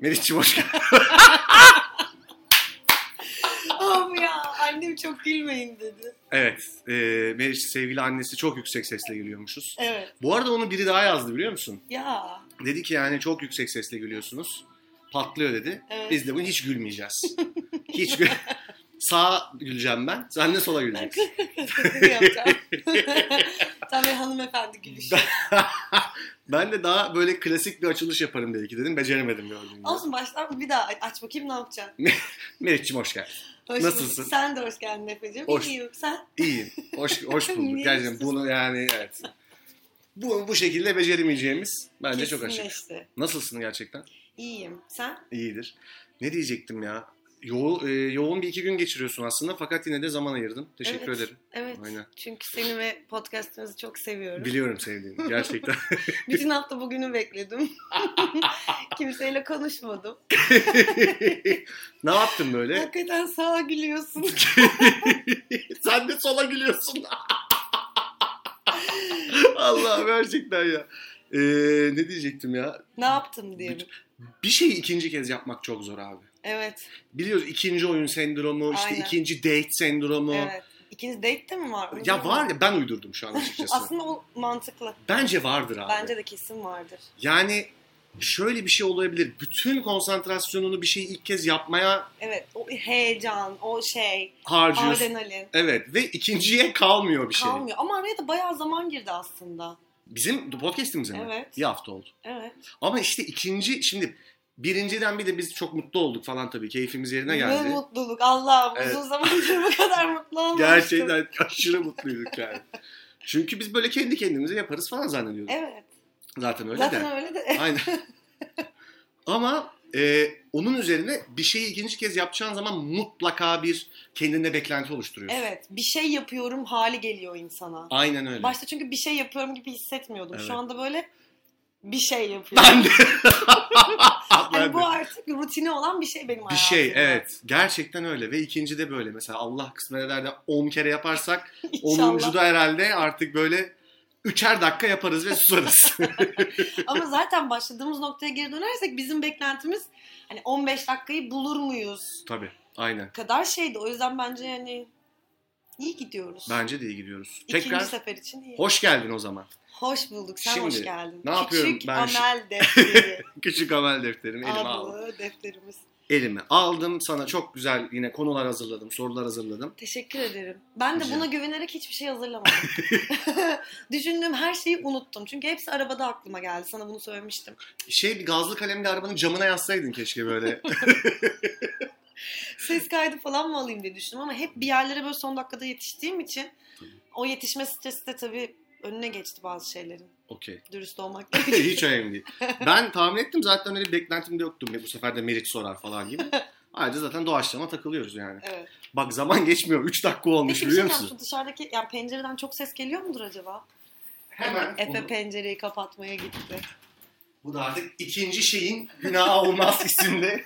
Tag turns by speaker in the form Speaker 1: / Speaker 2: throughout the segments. Speaker 1: Meriç'ciğim hoş geldin.
Speaker 2: Abi ya annem çok gülmeyin dedi.
Speaker 1: Evet. E, Meriç sevgili annesi çok yüksek sesle gülüyormuşuz.
Speaker 2: Evet.
Speaker 1: Bu arada onu biri daha yazdı biliyor musun?
Speaker 2: Ya.
Speaker 1: Dedi ki yani çok yüksek sesle gülüyorsunuz. Patlıyor dedi.
Speaker 2: Evet.
Speaker 1: Biz de bugün hiç gülmeyeceğiz. hiç gül... Sağa güleceğim ben. Sen de sola güleceksin.
Speaker 2: Ne yapacağım? Tam bir hanımefendi gülüşü.
Speaker 1: ben de daha böyle klasik bir açılış yaparım belki dedim. Beceremedim gördüğün gibi.
Speaker 2: Olsun baştan bir daha aç bakayım ne yapacaksın?
Speaker 1: Meriç'ciğim hoş geldin.
Speaker 2: Hoş
Speaker 1: Nasılsın?
Speaker 2: bulduk. Sen de hoş geldin Efe'cim.
Speaker 1: Hoş.
Speaker 2: İyiyim. Sen?
Speaker 1: İyiyim. Hoş, hoş bulduk.
Speaker 2: Niye
Speaker 1: Gerçekten
Speaker 2: mutsuz?
Speaker 1: bunu yani evet. Bu, bu şekilde beceremeyeceğimiz bence çok açık.
Speaker 2: Kesinleşti.
Speaker 1: Nasılsın gerçekten?
Speaker 2: İyiyim. Sen?
Speaker 1: İyidir. Ne diyecektim ya? Yo- e, yoğun bir iki gün geçiriyorsun aslında fakat yine de zaman ayırdım. Teşekkür
Speaker 2: Evet.
Speaker 1: ederim.
Speaker 2: Evet.
Speaker 1: Aynen.
Speaker 2: Çünkü seni ve podcastınızı çok seviyorum.
Speaker 1: Biliyorum sevdiğini gerçekten.
Speaker 2: Bütün hafta bugünü bekledim. Kimseyle konuşmadım.
Speaker 1: ne yaptın böyle?
Speaker 2: Hakikaten sağa gülüyorsun.
Speaker 1: Sen de sola gülüyorsun. Allah gerçekten ya. E, ne diyecektim ya?
Speaker 2: ne yaptım diye.
Speaker 1: Bütün- Bir şeyi ikinci kez yapmak çok zor abi.
Speaker 2: Evet.
Speaker 1: Biliyoruz ikinci oyun sendromu, işte
Speaker 2: Aynen.
Speaker 1: ikinci date sendromu.
Speaker 2: Evet. İkiniz date'te mi var?
Speaker 1: Ya var ya ben uydurdum şu an açıkçası.
Speaker 2: Aslında o mantıklı.
Speaker 1: Bence vardır abi.
Speaker 2: Bence de kesin vardır.
Speaker 1: Yani şöyle bir şey olabilir. Bütün konsantrasyonunu bir şeyi ilk kez yapmaya
Speaker 2: Evet. O heyecan, o şey,
Speaker 1: harcıyorsun.
Speaker 2: adrenalin.
Speaker 1: Evet ve ikinciye kalmıyor bir şey.
Speaker 2: Kalmıyor. Ama araya da bayağı zaman girdi aslında.
Speaker 1: Bizim podcast'imize mi?
Speaker 2: Evet.
Speaker 1: Bir hafta oldu.
Speaker 2: Evet.
Speaker 1: Ama işte ikinci şimdi birinciden bir de biz çok mutlu olduk falan tabii. Keyfimiz yerine
Speaker 2: Ne
Speaker 1: geldi.
Speaker 2: mutluluk. Allah'ım
Speaker 1: Evet.
Speaker 2: uzun zamandır bu kadar mutlu olmamıştım.
Speaker 1: Gerçekten aşırı mutluyduk yani. Çünkü biz böyle kendi kendimize yaparız falan zannediyorduk.
Speaker 2: Evet.
Speaker 1: Zaten öyle de.
Speaker 2: Zaten öyle de.
Speaker 1: Aynen. Ama e, onun üzerine bir şeyi ikinci kez yapacağın zaman mutlaka bir kendine beklenti oluşturuyorsun.
Speaker 2: Evet. Bir şey yapıyorum hali geliyor insana.
Speaker 1: Aynen öyle.
Speaker 2: Başta çünkü bir şey yapıyorum gibi hissetmiyordum.
Speaker 1: Evet.
Speaker 2: Şu anda böyle bir şey yapıyorum.
Speaker 1: Ben de. Ben
Speaker 2: Hani bu
Speaker 1: de.
Speaker 2: artık rutini olan bir şey
Speaker 1: Bir
Speaker 2: benim hayatımda.
Speaker 1: şey evet. Gerçekten öyle ve ikinci de böyle. Mesela Allah kısmet eder de 10 kere yaparsak
Speaker 2: İnşallah.
Speaker 1: 10. da herhalde artık böyle üçer dakika yaparız ve susarız.
Speaker 2: Ama zaten başladığımız noktaya geri dönersek bizim beklentimiz hani 15 dakikayı bulur muyuz
Speaker 1: Tabii. Aynen.
Speaker 2: kadar şeydi. O yüzden bence hani iyi gidiyoruz.
Speaker 1: Bence de iyi gidiyoruz.
Speaker 2: İkinci
Speaker 1: Tekrar
Speaker 2: sefer için iyi.
Speaker 1: hoş geldin o zaman.
Speaker 2: Hoş bulduk. Sen
Speaker 1: Şimdi
Speaker 2: hoş geldin.
Speaker 1: ne yapıyorum
Speaker 2: Küçük
Speaker 1: ben şi-
Speaker 2: amel defteri.
Speaker 1: Küçük amel defterim elime aldım.
Speaker 2: Adlı defterimiz.
Speaker 1: elime aldım. Sana çok güzel yine konular hazırladım, sorular hazırladım.
Speaker 2: Teşekkür ederim. Ben de
Speaker 1: Rica.
Speaker 2: buna güvenerek hiçbir şey hazırlamadım. Düşündüğüm her şeyi unuttum. Çünkü hepsi arabada aklıma geldi. Sana bunu söylemiştim.
Speaker 1: Şey bir gazlı kalemle arabanın camına yazsaydın keşke böyle.
Speaker 2: ses kaydı falan mı alayım diye düşündüm ama hep bir yerlere böyle son dakikada yetiştiğim için o yetişme stresi de tabii önüne geçti bazı şeylerin.
Speaker 1: Okey.
Speaker 2: Dürüst olmak gerekirse.
Speaker 1: Hiç önemli değil. Ben tahmin ettim zaten öyle bir beklentim de yoktu. Bu sefer de Meriç sorar falan gibi. Ayrıca zaten doğaçlama takılıyoruz yani.
Speaker 2: Evet.
Speaker 1: Bak zaman geçmiyor. 3 dakika olmuş
Speaker 2: Peki bir şey
Speaker 1: biliyor
Speaker 2: diyeceğim,
Speaker 1: musun?
Speaker 2: şu dışarıdaki yani pencereden çok ses geliyor mudur acaba?
Speaker 1: Hemen.
Speaker 2: Efe
Speaker 1: bunu-
Speaker 2: pencereyi kapatmaya gitti.
Speaker 1: Bu da artık ikinci şeyin günah olmaz isimli.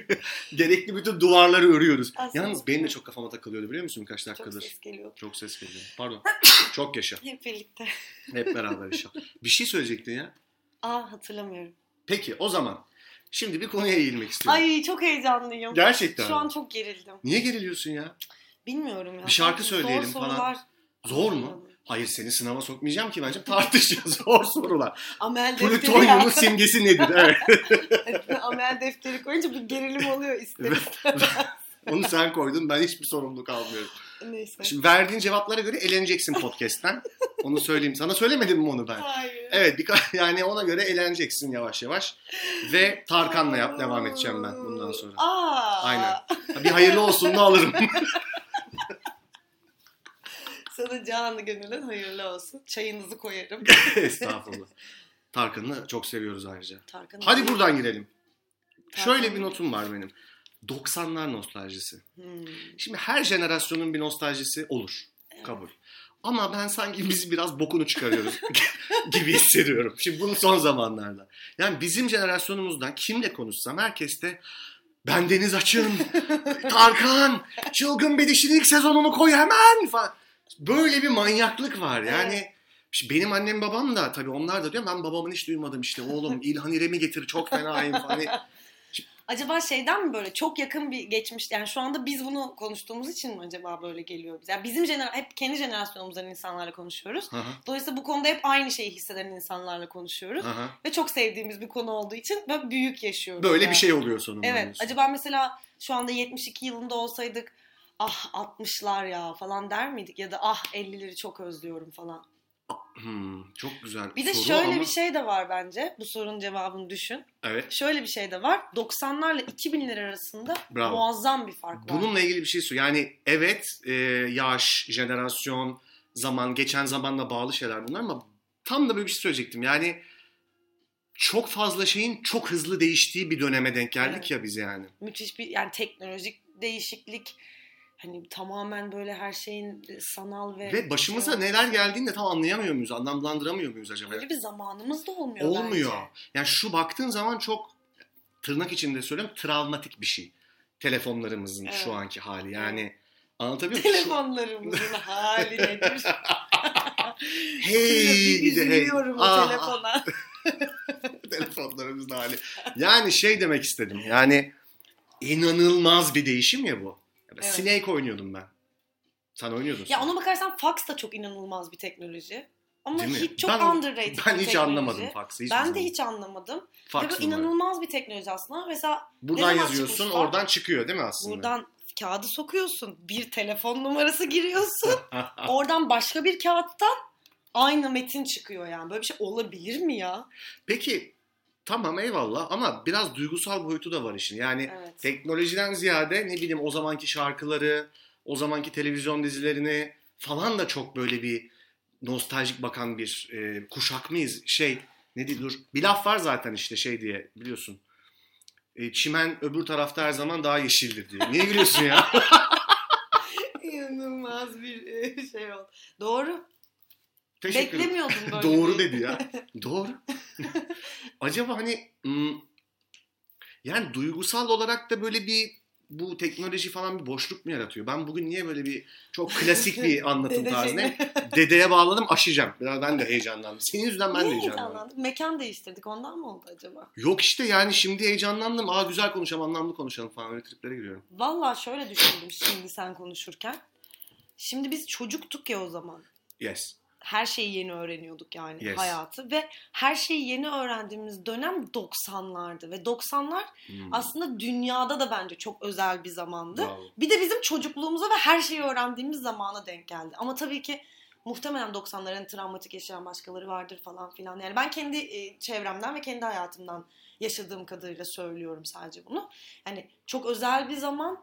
Speaker 1: Gerekli bütün duvarları örüyoruz.
Speaker 2: Aslında-
Speaker 1: Yalnız benim de çok kafama takılıyordu biliyor musun birkaç
Speaker 2: Çok
Speaker 1: dakikadır.
Speaker 2: ses geliyor.
Speaker 1: Çok ses geliyor. Pardon. çok yaşa.
Speaker 2: Hep birlikte.
Speaker 1: Hep beraber inşallah. Bir şey söyleyecektin ya.
Speaker 2: Aa Ah, hatırlamıyorum.
Speaker 1: Peki o zaman şimdi bir konuya eğilmek istiyorum.
Speaker 2: Ay çok heyecanlıyım.
Speaker 1: Gerçekten.
Speaker 2: Şu an çok gerildim.
Speaker 1: Niye geriliyorsun ya?
Speaker 2: Bilmiyorum ya.
Speaker 1: Bir şarkı
Speaker 2: Zor
Speaker 1: söyleyelim falan.
Speaker 2: sorular.
Speaker 1: Zor mu? Hayır seni sınava sokmayacağım ki bence tartışacağız. Zor sorular.
Speaker 2: Amel defteri
Speaker 1: Plütonyumun
Speaker 2: ya.
Speaker 1: simgesi nedir? Evet.
Speaker 2: Amel defteri koyunca bir gerilim oluyor ister istemez.
Speaker 1: Onu sen koydun ben hiçbir sorumluluk almıyorum.
Speaker 2: Neyse.
Speaker 1: Şimdi verdiğin cevaplara göre eleneceksin podcast'ten. Onu söyleyeyim sana. Söylemedim mi onu ben?
Speaker 2: Hayır.
Speaker 1: Evet birka- yani ona göre eleneceksin yavaş yavaş. Ve Tarkan'la yap devam edeceğim ben bundan sonra.
Speaker 2: Aa.
Speaker 1: Aynen. Ha, Bir hayırlı olsun da alırım.
Speaker 2: Sana canı gönülden hayırlı olsun. Çayınızı koyarım.
Speaker 1: Estağfurullah. Tarkan'ı çok seviyoruz ayrıca.
Speaker 2: Tarkan
Speaker 1: Hadi buradan girelim.
Speaker 2: Tarkan.
Speaker 1: Şöyle bir notum var benim. 90'lar nostaljisi.
Speaker 2: Hmm.
Speaker 1: Şimdi her jenerasyonun bir nostaljisi olur. Kabul. Ama ben sanki biz biraz bokunu çıkarıyoruz gibi hissediyorum. Şimdi bunun son zamanlarda. Yani bizim jenerasyonumuzdan kimle konuşsam herkes de ben Deniz Açın, Tarkan, Çılgın bir dişin ilk sezonunu koy hemen falan. Böyle bir manyaklık var yani. işte Benim annem babam da tabii onlar da diyor ben babamın hiç duymadım işte oğlum İlhan İrem'i getir çok fenayım falan. Hani
Speaker 2: Acaba şeyden mi böyle çok yakın bir geçmiş yani şu anda biz bunu konuştuğumuz için mi acaba böyle geliyor bize? Yani bizim jener hep kendi jenerasyonumuzdan insanlarla konuşuyoruz.
Speaker 1: Hı hı.
Speaker 2: Dolayısıyla bu konuda hep aynı şeyi hisseden insanlarla konuşuyoruz.
Speaker 1: Hı hı.
Speaker 2: Ve çok sevdiğimiz bir konu olduğu için böyle büyük yaşıyoruz.
Speaker 1: Böyle
Speaker 2: yani.
Speaker 1: bir şey oluyor sonunda.
Speaker 2: Evet.
Speaker 1: diyorsun.
Speaker 2: Acaba mesela şu anda 72 yılında olsaydık ah 60'lar ya falan der miydik ya da ah 50'leri çok özlüyorum falan.
Speaker 1: Hmm, çok güzel.
Speaker 2: Bir de
Speaker 1: soru
Speaker 2: şöyle
Speaker 1: ama-
Speaker 2: bir şey de var bence. Bu sorunun cevabını düşün.
Speaker 1: Evet.
Speaker 2: Şöyle bir şey de var. 90'larla 2000'ler arasında
Speaker 1: Bravo.
Speaker 2: muazzam bir fark var.
Speaker 1: Bununla ilgili bir şey söyle. Yani evet e, yaş, jenerasyon, zaman, geçen zamanla bağlı şeyler bunlar ama tam da böyle bir şey söyleyecektim. Yani çok fazla şeyin çok hızlı değiştiği bir döneme denk geldik
Speaker 2: Evet.
Speaker 1: ya biz yani.
Speaker 2: Müthiş bir yani teknolojik değişiklik hani tamamen böyle her şeyin e, sanal ve
Speaker 1: Ve başımıza neler geldiğini de tam anlayamıyor muyuz? Anlamlandıramıyor muyuz acaba?
Speaker 2: Öyle bir zamanımız da olmuyor
Speaker 1: Olmuyor.
Speaker 2: bence.
Speaker 1: Yani şu baktığın zaman çok tırnak içinde söylüyorum travmatik bir şey. Telefonlarımızın
Speaker 2: Evet.
Speaker 1: şu anki hali. Yani anlatabiliyor muyum? Şu-
Speaker 2: Telefonlarımızın hali nedir?
Speaker 1: Hey
Speaker 2: Bir
Speaker 1: bir de hey.
Speaker 2: üzülüyorum o
Speaker 1: Ah, ah,
Speaker 2: telefona.
Speaker 1: telefonlarımızın hali. Yani şey demek istedim. Yani inanılmaz bir değişim ya bu.
Speaker 2: Evet.
Speaker 1: Snake oynuyordum ben. Sen oynuyordun.
Speaker 2: Ya
Speaker 1: sen.
Speaker 2: ona bakarsan fax da çok inanılmaz bir teknoloji. Ama
Speaker 1: Değil mi?
Speaker 2: hiç çok
Speaker 1: Ben-
Speaker 2: underrated bir
Speaker 1: ben hiç
Speaker 2: teknoloji.
Speaker 1: anlamadım faxı. hiçbir
Speaker 2: Ben de
Speaker 1: zaman.
Speaker 2: hiç anlamadım.
Speaker 1: Fax
Speaker 2: Ve bu
Speaker 1: numara.
Speaker 2: inanılmaz bir teknoloji aslında. Mesela
Speaker 1: Buradan
Speaker 2: Ne zaman
Speaker 1: yazıyorsun
Speaker 2: çıkmış
Speaker 1: oradan çıkıyor değil mi aslında?
Speaker 2: şey. buradan kağıdı sokuyorsun. Bir telefon numarası giriyorsun. Oradan başka bir kağıttan aynı metin çıkıyor yani. Böyle bir şey olabilir mi ya?
Speaker 1: Peki tamam eyvallah ama biraz duygusal boyutu da var işin. Yani
Speaker 2: Evet.
Speaker 1: teknolojiden ziyade ne bileyim o zamanki şarkıları, o zamanki televizyon dizilerini falan da çok böyle bir nostaljik bakan bir e, kuşak mıyız? Şey ne diyeyim dur bir laf var zaten işte şey diye biliyorsun. E, çimen öbür tarafta her zaman daha yeşildir diye. Niye gülüyorsun ya?
Speaker 2: İnanılmaz bir e, şey oldu. Doğru.
Speaker 1: Teşekkür ederim.
Speaker 2: Beklemiyordum böyle.
Speaker 1: Doğru
Speaker 2: bir-
Speaker 1: dedi ya. Doğru. Acaba hani hmm, yani duygusal olarak da böyle bir bu teknoloji falan bir boşluk mu yaratıyor? Ben bugün niye böyle bir çok klasik bir anlatım
Speaker 2: Dede
Speaker 1: tarzı
Speaker 2: şey-
Speaker 1: ne? Dedeye bağladım aşacağım. Biraz ben de heyecanlandım. Senin yüzünden ben de
Speaker 2: Niye
Speaker 1: heyecanlandım.
Speaker 2: heyecanlandık? Mekan değiştirdik ondan mı oldu acaba?
Speaker 1: Yok işte yani şimdi heyecanlandım. Aa güzel konuşalım, anlamlı konuşalım falan öyle triplere giriyorum.
Speaker 2: Valla şöyle düşündüm şimdi sen konuşurken. Şimdi biz çocuktuk ya o zaman.
Speaker 1: Yes.
Speaker 2: Her şeyi yeni öğreniyorduk yani
Speaker 1: Yes.
Speaker 2: hayatı. Ve her şeyi yeni öğrendiğimiz dönem 90'lardı. Ve 90'lar
Speaker 1: Hmm.
Speaker 2: aslında dünyada da bence çok özel bir zamandı.
Speaker 1: Bravo.
Speaker 2: Bir de bizim çocukluğumuza ve her şeyi öğrendiğimiz zamana denk geldi. Ama tabii ki muhtemelen 90'ların travmatik yaşayan başkaları vardır falan filan. Yani ben kendi e, çevremden ve kendi hayatımdan yaşadığım kadarıyla söylüyorum sadece bunu. Yani çok özel bir zaman.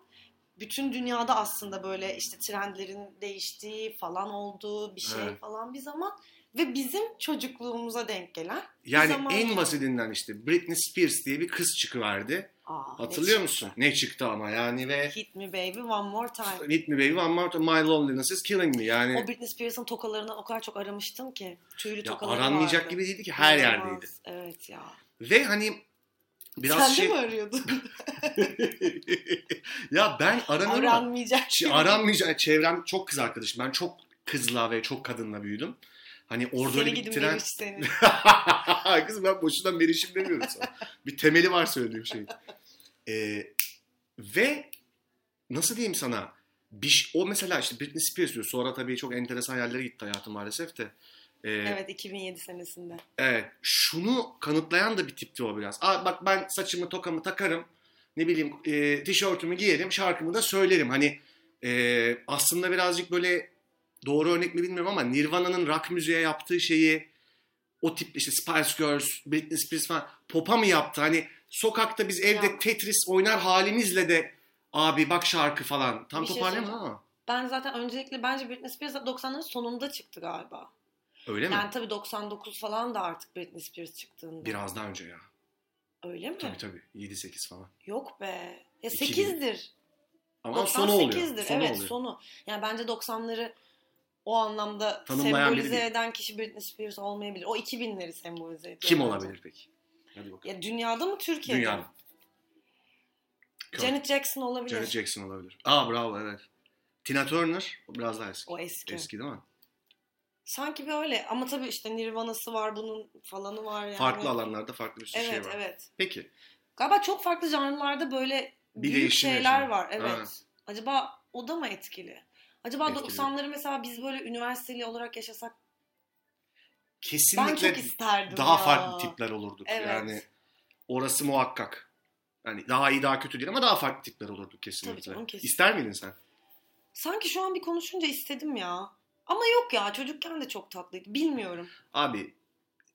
Speaker 2: Bütün dünyada aslında böyle işte trendlerin değiştiği falan olduğu bir şey
Speaker 1: Evet.
Speaker 2: falan bir zaman. Ve bizim çocukluğumuza denk gelen.
Speaker 1: Yani
Speaker 2: zaman
Speaker 1: en
Speaker 2: yani.
Speaker 1: basitinden işte Britney Spears diye bir kız çıkıverdi.
Speaker 2: Aa,
Speaker 1: Hatırlıyor
Speaker 2: ne
Speaker 1: musun? Ne çıktı ama yani ve
Speaker 2: çıktı? Hit me baby one more time.
Speaker 1: Hit me baby one more time. My loneliness is killing me. Yani
Speaker 2: O Britney Spears'ın tokalarını o kadar çok aramıştım ki. Tüylü
Speaker 1: Hani ya
Speaker 2: tokaları
Speaker 1: aranmayacak
Speaker 2: vardı.
Speaker 1: gibi değildi ki her
Speaker 2: İnanılmaz.
Speaker 1: yerdeydi.
Speaker 2: Evet ya.
Speaker 1: Ve hani biraz
Speaker 2: Sen
Speaker 1: şey
Speaker 2: de mi arıyordun?
Speaker 1: ya ben aranırım. ama
Speaker 2: Aranmayacak
Speaker 1: ç-
Speaker 2: gibi.
Speaker 1: Aranmayacak çevrem çok kız arkadaşım. Ben çok kızla ve çok kadınla büyüdüm. Hani orada
Speaker 2: seni
Speaker 1: öyle bir
Speaker 2: gidim
Speaker 1: tren...
Speaker 2: demiş seni.
Speaker 1: Kızım ben boşuna merişim demiyorum sana. bir temeli var söylediğim şey. Ee, ve nasıl diyeyim sana? Bir, ş- o mesela işte Britney Spears diyor. Sonra tabii çok enteresan yerlere gitti hayatı maalesef de. Ee,
Speaker 2: Evet 2007 senesinde.
Speaker 1: Evet. Ee, Şunu kanıtlayan da bir tipti o biraz. Aa, bak ben saçımı tokamı takarım. Ne bileyim e, tişörtümü giyerim. Şarkımı da söylerim. Hani e, aslında birazcık böyle doğru örnek mi bilmiyorum ama Nirvana'nın rock müziğe yaptığı şeyi o tip işte Spice Girls, Britney Spears falan pop'a mı yaptı? Hani sokakta biz evde
Speaker 2: Ya.
Speaker 1: Tetris oynar halimizle de abi bak şarkı falan. Tam
Speaker 2: Bir şey
Speaker 1: toparlayamadım
Speaker 2: söyleyeceğim.
Speaker 1: ama.
Speaker 2: Ben zaten öncelikle bence Britney Spears 90'ların sonunda çıktı galiba.
Speaker 1: Öyle mi?
Speaker 2: Yani tabii 99 falan da artık Britney Spears çıktığında.
Speaker 1: Biraz daha önce ya.
Speaker 2: Öyle mi?
Speaker 1: Tabii tabii. 7-8 falan.
Speaker 2: Yok be. Ya
Speaker 1: 2000.
Speaker 2: 8'dir.
Speaker 1: Ama sonu oluyor.
Speaker 2: 98'dir.
Speaker 1: Sonu
Speaker 2: evet
Speaker 1: oluyor.
Speaker 2: sonu. Yani bence 90'ları o anlamda
Speaker 1: Tanımlayan biri
Speaker 2: sembolize
Speaker 1: değil.
Speaker 2: eden kişi Britney Spears olmayabilir. O 2000'leri sembolize ediyor.
Speaker 1: Kim
Speaker 2: bence.
Speaker 1: olabilir peki? Hadi bakalım.
Speaker 2: Ya dünyada mı Türkiye'de?
Speaker 1: Dünyanın.
Speaker 2: mi? Janet Jackson olabilir.
Speaker 1: Janet Jackson olabilir. Aa bravo evet. Tina Turner o biraz daha eski.
Speaker 2: O eski.
Speaker 1: Eski değil mi?
Speaker 2: Sanki böyle ama tabii işte Nirvana'sı var bunun falanı var yani.
Speaker 1: Farklı alanlarda farklı bir sürü
Speaker 2: Evet
Speaker 1: şey var.
Speaker 2: evet.
Speaker 1: Peki.
Speaker 2: Galiba çok farklı janrlarda böyle
Speaker 1: Bir
Speaker 2: büyük
Speaker 1: değişim
Speaker 2: şeyler
Speaker 1: yaşanıyor.
Speaker 2: var. Evet.
Speaker 1: Ha.
Speaker 2: Acaba o da mı etkili? Acaba
Speaker 1: Etkili.
Speaker 2: 90'ları mesela biz böyle üniversiteli olarak yaşasak ben
Speaker 1: Kesinlikle
Speaker 2: çok isterdim
Speaker 1: daha
Speaker 2: ya.
Speaker 1: farklı tipler olurduk.
Speaker 2: Evet.
Speaker 1: Yani orası muhakkak. Yani daha iyi daha kötü değil ama daha farklı tipler olurduk kesinlikle.
Speaker 2: canım, kesin.
Speaker 1: İster miydin sen?
Speaker 2: Sanki şu an bir konuşunca istedim ya. Ama yok ya çocukken de çok tatlıydı. Bilmiyorum.
Speaker 1: Abi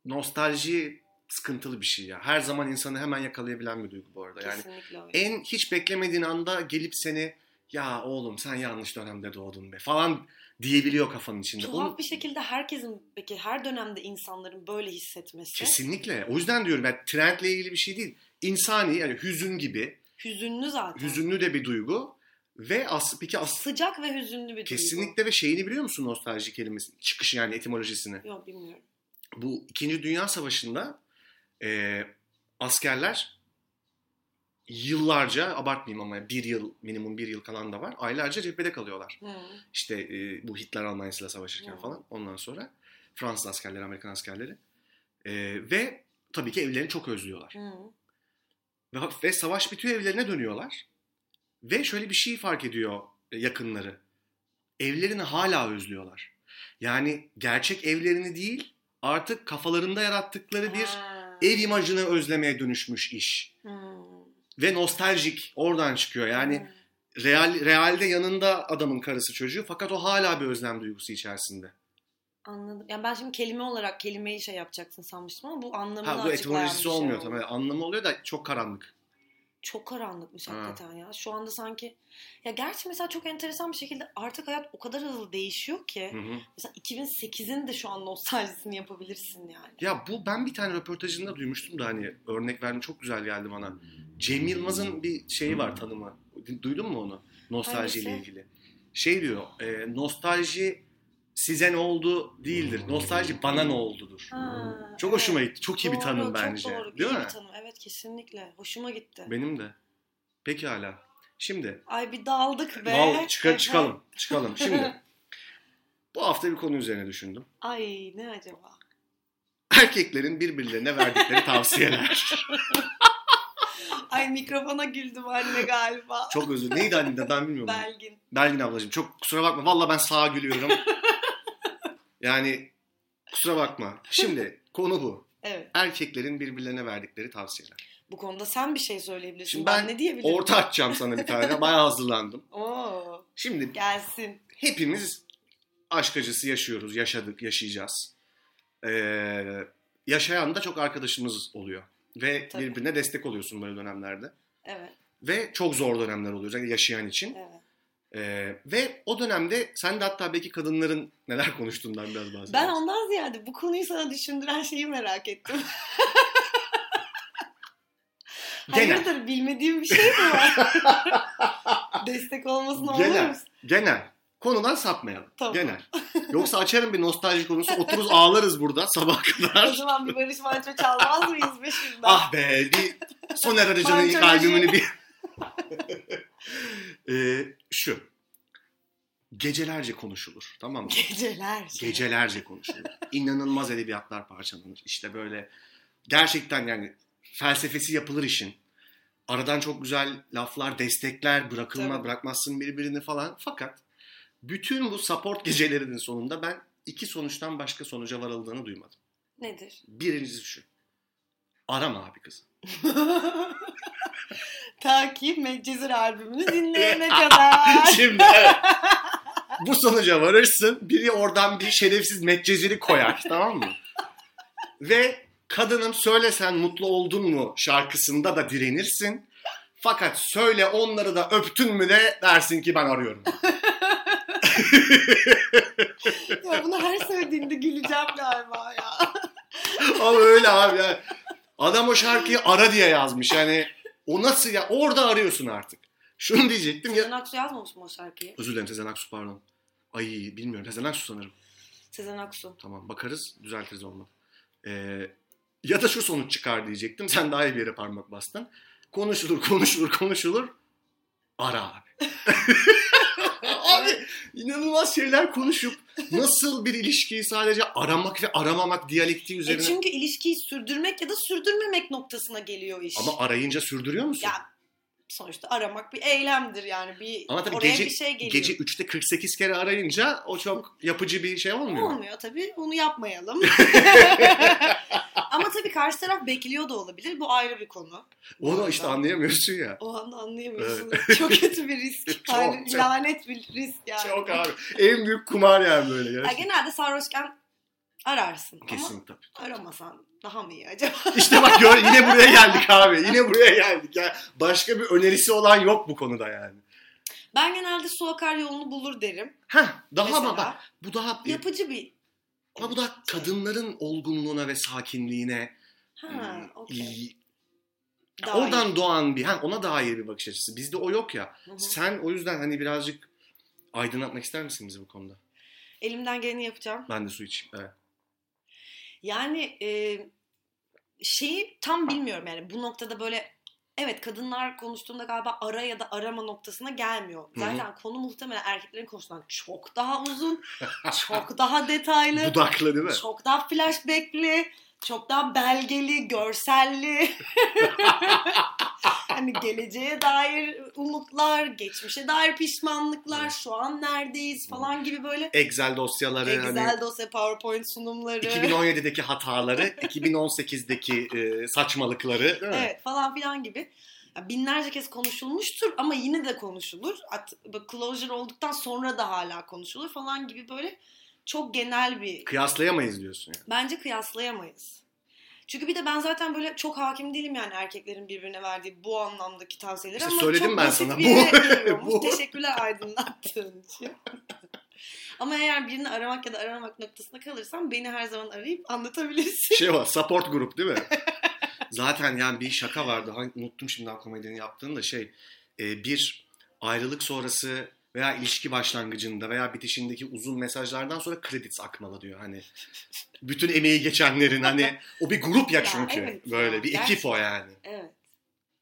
Speaker 1: nostalji sıkıntılı bir şey ya. Her zaman insanı hemen yakalayabilen bir duygu bu arada. Yani
Speaker 2: Kesinlikle öyle.
Speaker 1: en hiç beklemediğin anda gelip seni ya oğlum sen yanlış dönemde doğdun be falan diyebiliyor kafanın içinde.
Speaker 2: Tuhaf
Speaker 1: Onu-
Speaker 2: bir şekilde herkesin peki her dönemde insanların böyle hissetmesi
Speaker 1: Kesinlikle. O yüzden diyorum yani trendle ilgili bir şey değil. İnsani yani hüzün gibi.
Speaker 2: hüzünlü zaten.
Speaker 1: Hüzünlü de bir duygu. Ve as, peki as,
Speaker 2: Sıcak ve hüzünlü bir duygu.
Speaker 1: kesinlikle ve şeyini biliyor musun nostalji kelimesinin çıkışı yani etimolojisini?
Speaker 2: Yok bilmiyorum.
Speaker 1: bu İkinci Dünya Savaşı'nda e, askerler yıllarca abartmayayım ama bir yıl minimum bir yıl kalan da var aylarca cephede kalıyorlar.
Speaker 2: Hı.
Speaker 1: İşte e, bu Hitler Almanya'sıyla savaşırken
Speaker 2: Hı.
Speaker 1: falan ondan sonra Fransız askerleri Amerikan askerleri E, ve tabii ki evlerini çok özlüyorlar.
Speaker 2: Hı.
Speaker 1: Ve, ve savaş bitiyor evlerine dönüyorlar ve şöyle bir şey fark ediyor e, yakınları evlerini hala özlüyorlar. Yani gerçek evlerini değil artık kafalarında yarattıkları bir
Speaker 2: Ha.
Speaker 1: ev imajını özlemeye dönüşmüş iş.
Speaker 2: Hı.
Speaker 1: Ve nostaljik oradan çıkıyor. Yani
Speaker 2: Hı.
Speaker 1: real realde yanında adamın karısı çocuğu fakat o hala bir özlem duygusu içerisinde.
Speaker 2: Anladım. Yani ben şimdi kelime olarak kelimeyi şey yapacaksın sanmıştım ama bu anlamını
Speaker 1: Ha bu
Speaker 2: açıklayan
Speaker 1: etimolojisi
Speaker 2: bir şey
Speaker 1: olmuyor
Speaker 2: oldu.
Speaker 1: tabii. Hani Anlamı oluyor da çok karanlık.
Speaker 2: Çok karanlıkmış
Speaker 1: Ha.
Speaker 2: hakikaten ya. Şu anda sanki ya gerçi mesela çok enteresan bir şekilde artık hayat o kadar hızlı değişiyor ki.
Speaker 1: Hı hı.
Speaker 2: Mesela 2008'in de şu an nostaljisini yapabilirsin yani.
Speaker 1: Ya bu ben bir tane röportajında duymuştum da hani örnek verdim çok güzel geldi bana. Cem Yılmaz'ın bir şeyi var tanımı. Duydun mu onu? Nostalji ile
Speaker 2: Hangisi?
Speaker 1: ilgili. Şey diyor, e, nostalji size ne oldu değildir. Nostalji bana ne oldudur.
Speaker 2: Ha,
Speaker 1: Çok
Speaker 2: evet.
Speaker 1: hoşuma gitti. Çok iyi bir
Speaker 2: Doğru,
Speaker 1: tanım
Speaker 2: çok
Speaker 1: bence.
Speaker 2: doğru.
Speaker 1: Değil
Speaker 2: iyi
Speaker 1: mi?
Speaker 2: bir tanım. Evet kesinlikle. Hoşuma gitti.
Speaker 1: Benim de. Peki hala. Şimdi
Speaker 2: Ay bir daldık be.
Speaker 1: Vav, çıkar
Speaker 2: Ehe.
Speaker 1: çıkalım. Çıkalım şimdi. Bu hafta bir konu üzerine düşündüm.
Speaker 2: Ay ne acaba?
Speaker 1: Erkeklerin birbirlerine verdikleri tavsiyeler.
Speaker 2: Ay mikrofona güldüm anne galiba.
Speaker 1: Çok özür Neydi annemden ben bilmiyorum.
Speaker 2: Belgin.
Speaker 1: Belgin ablacığım çok kusura bakma. Valla ben sağa gülüyorum. yani kusura bakma. Şimdi konu bu.
Speaker 2: Evet.
Speaker 1: Erkeklerin birbirlerine verdikleri tavsiyeler.
Speaker 2: Bu konuda sen bir şey söyleyebilirsin.
Speaker 1: Şimdi
Speaker 2: ben,
Speaker 1: ben
Speaker 2: ne diyebilirim?
Speaker 1: Orta açacağım sana bir tane. Bayağı hazırlandım.
Speaker 2: Oo,
Speaker 1: Şimdi
Speaker 2: gelsin.
Speaker 1: hepimiz aşk acısı yaşıyoruz, yaşadık, yaşayacağız. Ee, yaşayan da çok arkadaşımız oluyor. Ve
Speaker 2: Tabii.
Speaker 1: birbirine destek oluyorsun böyle dönemlerde.
Speaker 2: Evet,
Speaker 1: Ve çok zor dönemler oluyor özellikle yaşayan için.
Speaker 2: evet.
Speaker 1: Ee, ve o dönemde sen de hatta belki kadınların neler konuştuğundan biraz bahsedersin.
Speaker 2: Ben ondan ziyade bu konuyu sana düşündüren şeyi merak ettim.
Speaker 1: Genel.
Speaker 2: Hayırdır bilmediğim bir şey mi var? Destek olmasına olur
Speaker 1: Genel.
Speaker 2: musun?
Speaker 1: Genel. Konudan sapmayalım.
Speaker 2: Tamam.
Speaker 1: Genel. Yoksa açarım bir nostalji konusu. Otururuz ağlarız burada sabah
Speaker 2: O
Speaker 1: kadar.
Speaker 2: zaman bir Barış Manço çalmaz mıyız be şuradan?
Speaker 1: ah be bir Soner Arıcan'ın ilk
Speaker 2: Manço
Speaker 1: albümünü bir... Ee, şu. Gecelerce konuşulur. Tamam mı?
Speaker 2: Geceler.
Speaker 1: Gecelerce konuşulur. İnanılmaz edebiyatlar parçalanır. İşte böyle gerçekten yani felsefesi yapılır işin. Aradan çok güzel laflar, destekler, bırakılma,
Speaker 2: Tabii.
Speaker 1: bırakmazsın birbirini falan. Fakat bütün bu support gecelerinin sonunda ben iki sonuçtan başka sonuca varıldığını duymadım.
Speaker 2: Nedir?
Speaker 1: Birincisi şu. Arama abi kızı.
Speaker 2: Ta ki Medcezir albümünü dinleyene kadar.
Speaker 1: Şimdi evet. Bu sonuca varırsın. Biri oradan bir şerefsiz metceziri koyar. tamam mı? Ve kadının söylesen mutlu oldun mu şarkısında da direnirsin. Fakat söyle onları da öptün mü de dersin ki ben arıyorum.
Speaker 2: ya bunu her söylediğinde güleceğim galiba ya.
Speaker 1: Ama öyle abi ya. Adam o şarkıyı ara diye yazmış. Yani o nasıl ya? Orada arıyorsun artık. Şunu diyecektim ya.
Speaker 2: Sezen Aksu yazmamış mı o şarkıyı?
Speaker 1: Özür dilerim Sezen Aksu pardon. Ay bilmiyorum Sezen Aksu sanırım.
Speaker 2: Sezen Aksu.
Speaker 1: Tamam bakarız düzeltiriz olmadı. Ee, ya da şu sonuç çıkar diyecektim. Sen daha iyi bir yere parmak bastın. Konuşulur konuşulur konuşulur. Ara abi. Abi inanılmaz şeyler konuşup nasıl bir ilişkiyi sadece aramak ve aramamak diyalektiği
Speaker 2: E
Speaker 1: üzerine.
Speaker 2: çünkü ilişkiyi sürdürmek ya da sürdürmemek noktasına geliyor iş.
Speaker 1: Ama arayınca sürdürüyor musun?
Speaker 2: Ya sonuçta aramak bir eylemdir yani. Bir,
Speaker 1: Ama tabii
Speaker 2: oraya
Speaker 1: gece-
Speaker 2: bir şey geliyor.
Speaker 1: Gece 3'te 48 kere arayınca o çok yapıcı bir şey olmuyor. mu?
Speaker 2: Olmuyor tabii. Onu yapmayalım. Ama tabii karşı taraf bekliyor da olabilir. Bu ayrı bir konu.
Speaker 1: Onu işte anlayamıyorsun ya.
Speaker 2: O anda anlayamıyorsunuz. Çok kötü bir risk.
Speaker 1: Çok,
Speaker 2: Yani
Speaker 1: çok.
Speaker 2: Lanet bir risk yani.
Speaker 1: Çok abi. En büyük kumar yani böyle.
Speaker 2: Ya
Speaker 1: gerçekten.
Speaker 2: genelde sarhoşken ararsın ama
Speaker 1: Kesin tabii.
Speaker 2: aramasan daha mı iyi acaba?
Speaker 1: İşte bak gör yine buraya geldik abi. Yine buraya geldik. ya başka bir önerisi olan yok bu konuda yani.
Speaker 2: Ben genelde su akar yolunu bulur derim.
Speaker 1: Heh, daha
Speaker 2: Mesela,
Speaker 1: ama bak bu daha
Speaker 2: Yapıcı bir...
Speaker 1: ama bu da kadınların olgunluğuna ve sakinliğine
Speaker 2: Ha,
Speaker 1: e,
Speaker 2: okey.
Speaker 1: iyi-
Speaker 2: Daha
Speaker 1: oradan
Speaker 2: iyi.
Speaker 1: doğan bir ha, ona dair bir bakış açısı. Bizde o yok ya.
Speaker 2: Hı hı.
Speaker 1: Sen o yüzden hani birazcık aydınlatmak ister misin bizi bu konuda?
Speaker 2: Elimden geleni yapacağım.
Speaker 1: Ben de su içeyim. Evet.
Speaker 2: Yani e, şeyi tam bilmiyorum yani bu noktada böyle evet kadınlar konuştuğunda galiba ara ya da arama noktasına gelmiyor.
Speaker 1: hı.
Speaker 2: Zaten konu muhtemelen erkeklerin konusundan çok daha uzun, çok daha detaylı.
Speaker 1: Budakla değil mi?
Speaker 2: Çok daha flashbackli, çok daha belgeli, görselli. hani geleceğe dair umutlar, geçmişe dair pişmanlıklar,
Speaker 1: Evet.
Speaker 2: şu an neredeyiz falan gibi böyle
Speaker 1: Excel dosyaları hani
Speaker 2: Excel dosya, PowerPoint sunumları.
Speaker 1: 2017'deki hataları, 2018'deki e, saçmalıkları. değil mi?
Speaker 2: Evet falan filan gibi. Ya binlerce kez konuşulmuştur ama yine de konuşulur. At, bu closure olduktan sonra da hala konuşulur falan gibi böyle çok genel bir
Speaker 1: Kıyaslayamayız diyorsun. yani.
Speaker 2: Bence kıyaslayamayız. Çünkü bir de ben zaten böyle çok hakim değilim yani erkeklerin birbirine verdiği bu anlamdaki tavsiyeleri
Speaker 1: İşte
Speaker 2: ama
Speaker 1: söyledim
Speaker 2: çok
Speaker 1: ben
Speaker 2: basit
Speaker 1: sana.
Speaker 2: bir
Speaker 1: Bu-
Speaker 2: yere geliyormuş.
Speaker 1: bu.
Speaker 2: Teşekkürler aydınlattığın için. ama eğer birini aramak ya da aramamak noktasına kalırsam beni her zaman arayıp anlatabilirsin.
Speaker 1: Şey var support grup değil mi? Zaten yani bir şaka vardı. Hangi, unuttum şimdi komedinin yaptığını da şey. e, bir ayrılık sonrası veya ilişki başlangıcında veya bitişindeki uzun mesajlardan sonra credits akmalı diyor. Hani bütün emeği geçenlerin hani o bir grup ya
Speaker 2: Ya
Speaker 1: çünkü.
Speaker 2: evet ya,
Speaker 1: Böyle bir ekip o
Speaker 2: gerçekten.
Speaker 1: yani.
Speaker 2: Evet.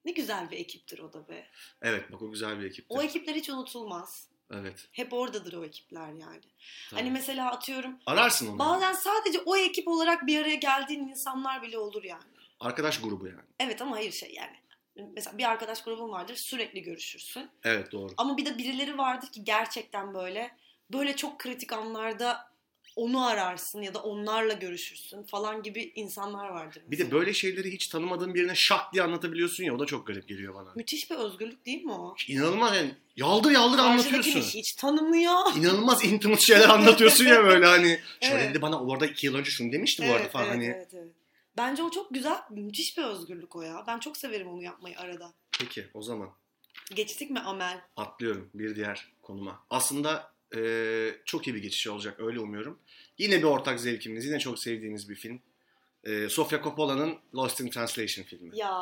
Speaker 2: Ne güzel bir ekiptir o da be.
Speaker 1: Evet bak o güzel bir ekip.
Speaker 2: O ekipler hiç unutulmaz.
Speaker 1: Evet.
Speaker 2: Hep oradadır o ekipler yani.
Speaker 1: tabii.
Speaker 2: Hani mesela atıyorum
Speaker 1: Ararsın onu.
Speaker 2: bazen sadece o ekip olarak bir araya geldiğin insanlar bile olur yani.
Speaker 1: Arkadaş grubu yani.
Speaker 2: Evet ama hayır şey yani. Mesela bir arkadaş grubun vardır sürekli görüşürsün.
Speaker 1: Evet doğru.
Speaker 2: Ama bir de birileri vardır ki gerçekten böyle böyle çok kritik anlarda onu ararsın ya da onlarla görüşürsün falan gibi insanlar vardır.
Speaker 1: Bir de böyle şeyleri hiç tanımadığın birine şak diye anlatabiliyorsun ya o da çok garip geliyor bana.
Speaker 2: Müthiş bir özgürlük değil mi o?
Speaker 1: İnanılmaz yani yaldır yaldır anlatıyorsun.
Speaker 2: Karşıdakini hiç tanımıyor.
Speaker 1: İnanılmaz intimate şeyler anlatıyorsun ya böyle hani. Şöyle
Speaker 2: şey- Evet.
Speaker 1: dedi bana orada iki yıl önce şunu demişti bu arada falan
Speaker 2: evet,
Speaker 1: hani.
Speaker 2: evet, evet. Bence o çok güzel, müthiş bir özgürlük o ya. Ben çok severim onu yapmayı arada.
Speaker 1: Peki o zaman
Speaker 2: Geçtik mi amel?
Speaker 1: atlıyorum bir diğer konuma. Aslında e, çok iyi bir geçiş olacak öyle umuyorum. Yine bir ortak zevkimiz yine çok sevdiğimiz bir film. E, Sofia Coppola'nın Lost in Translation filmi.
Speaker 2: Ya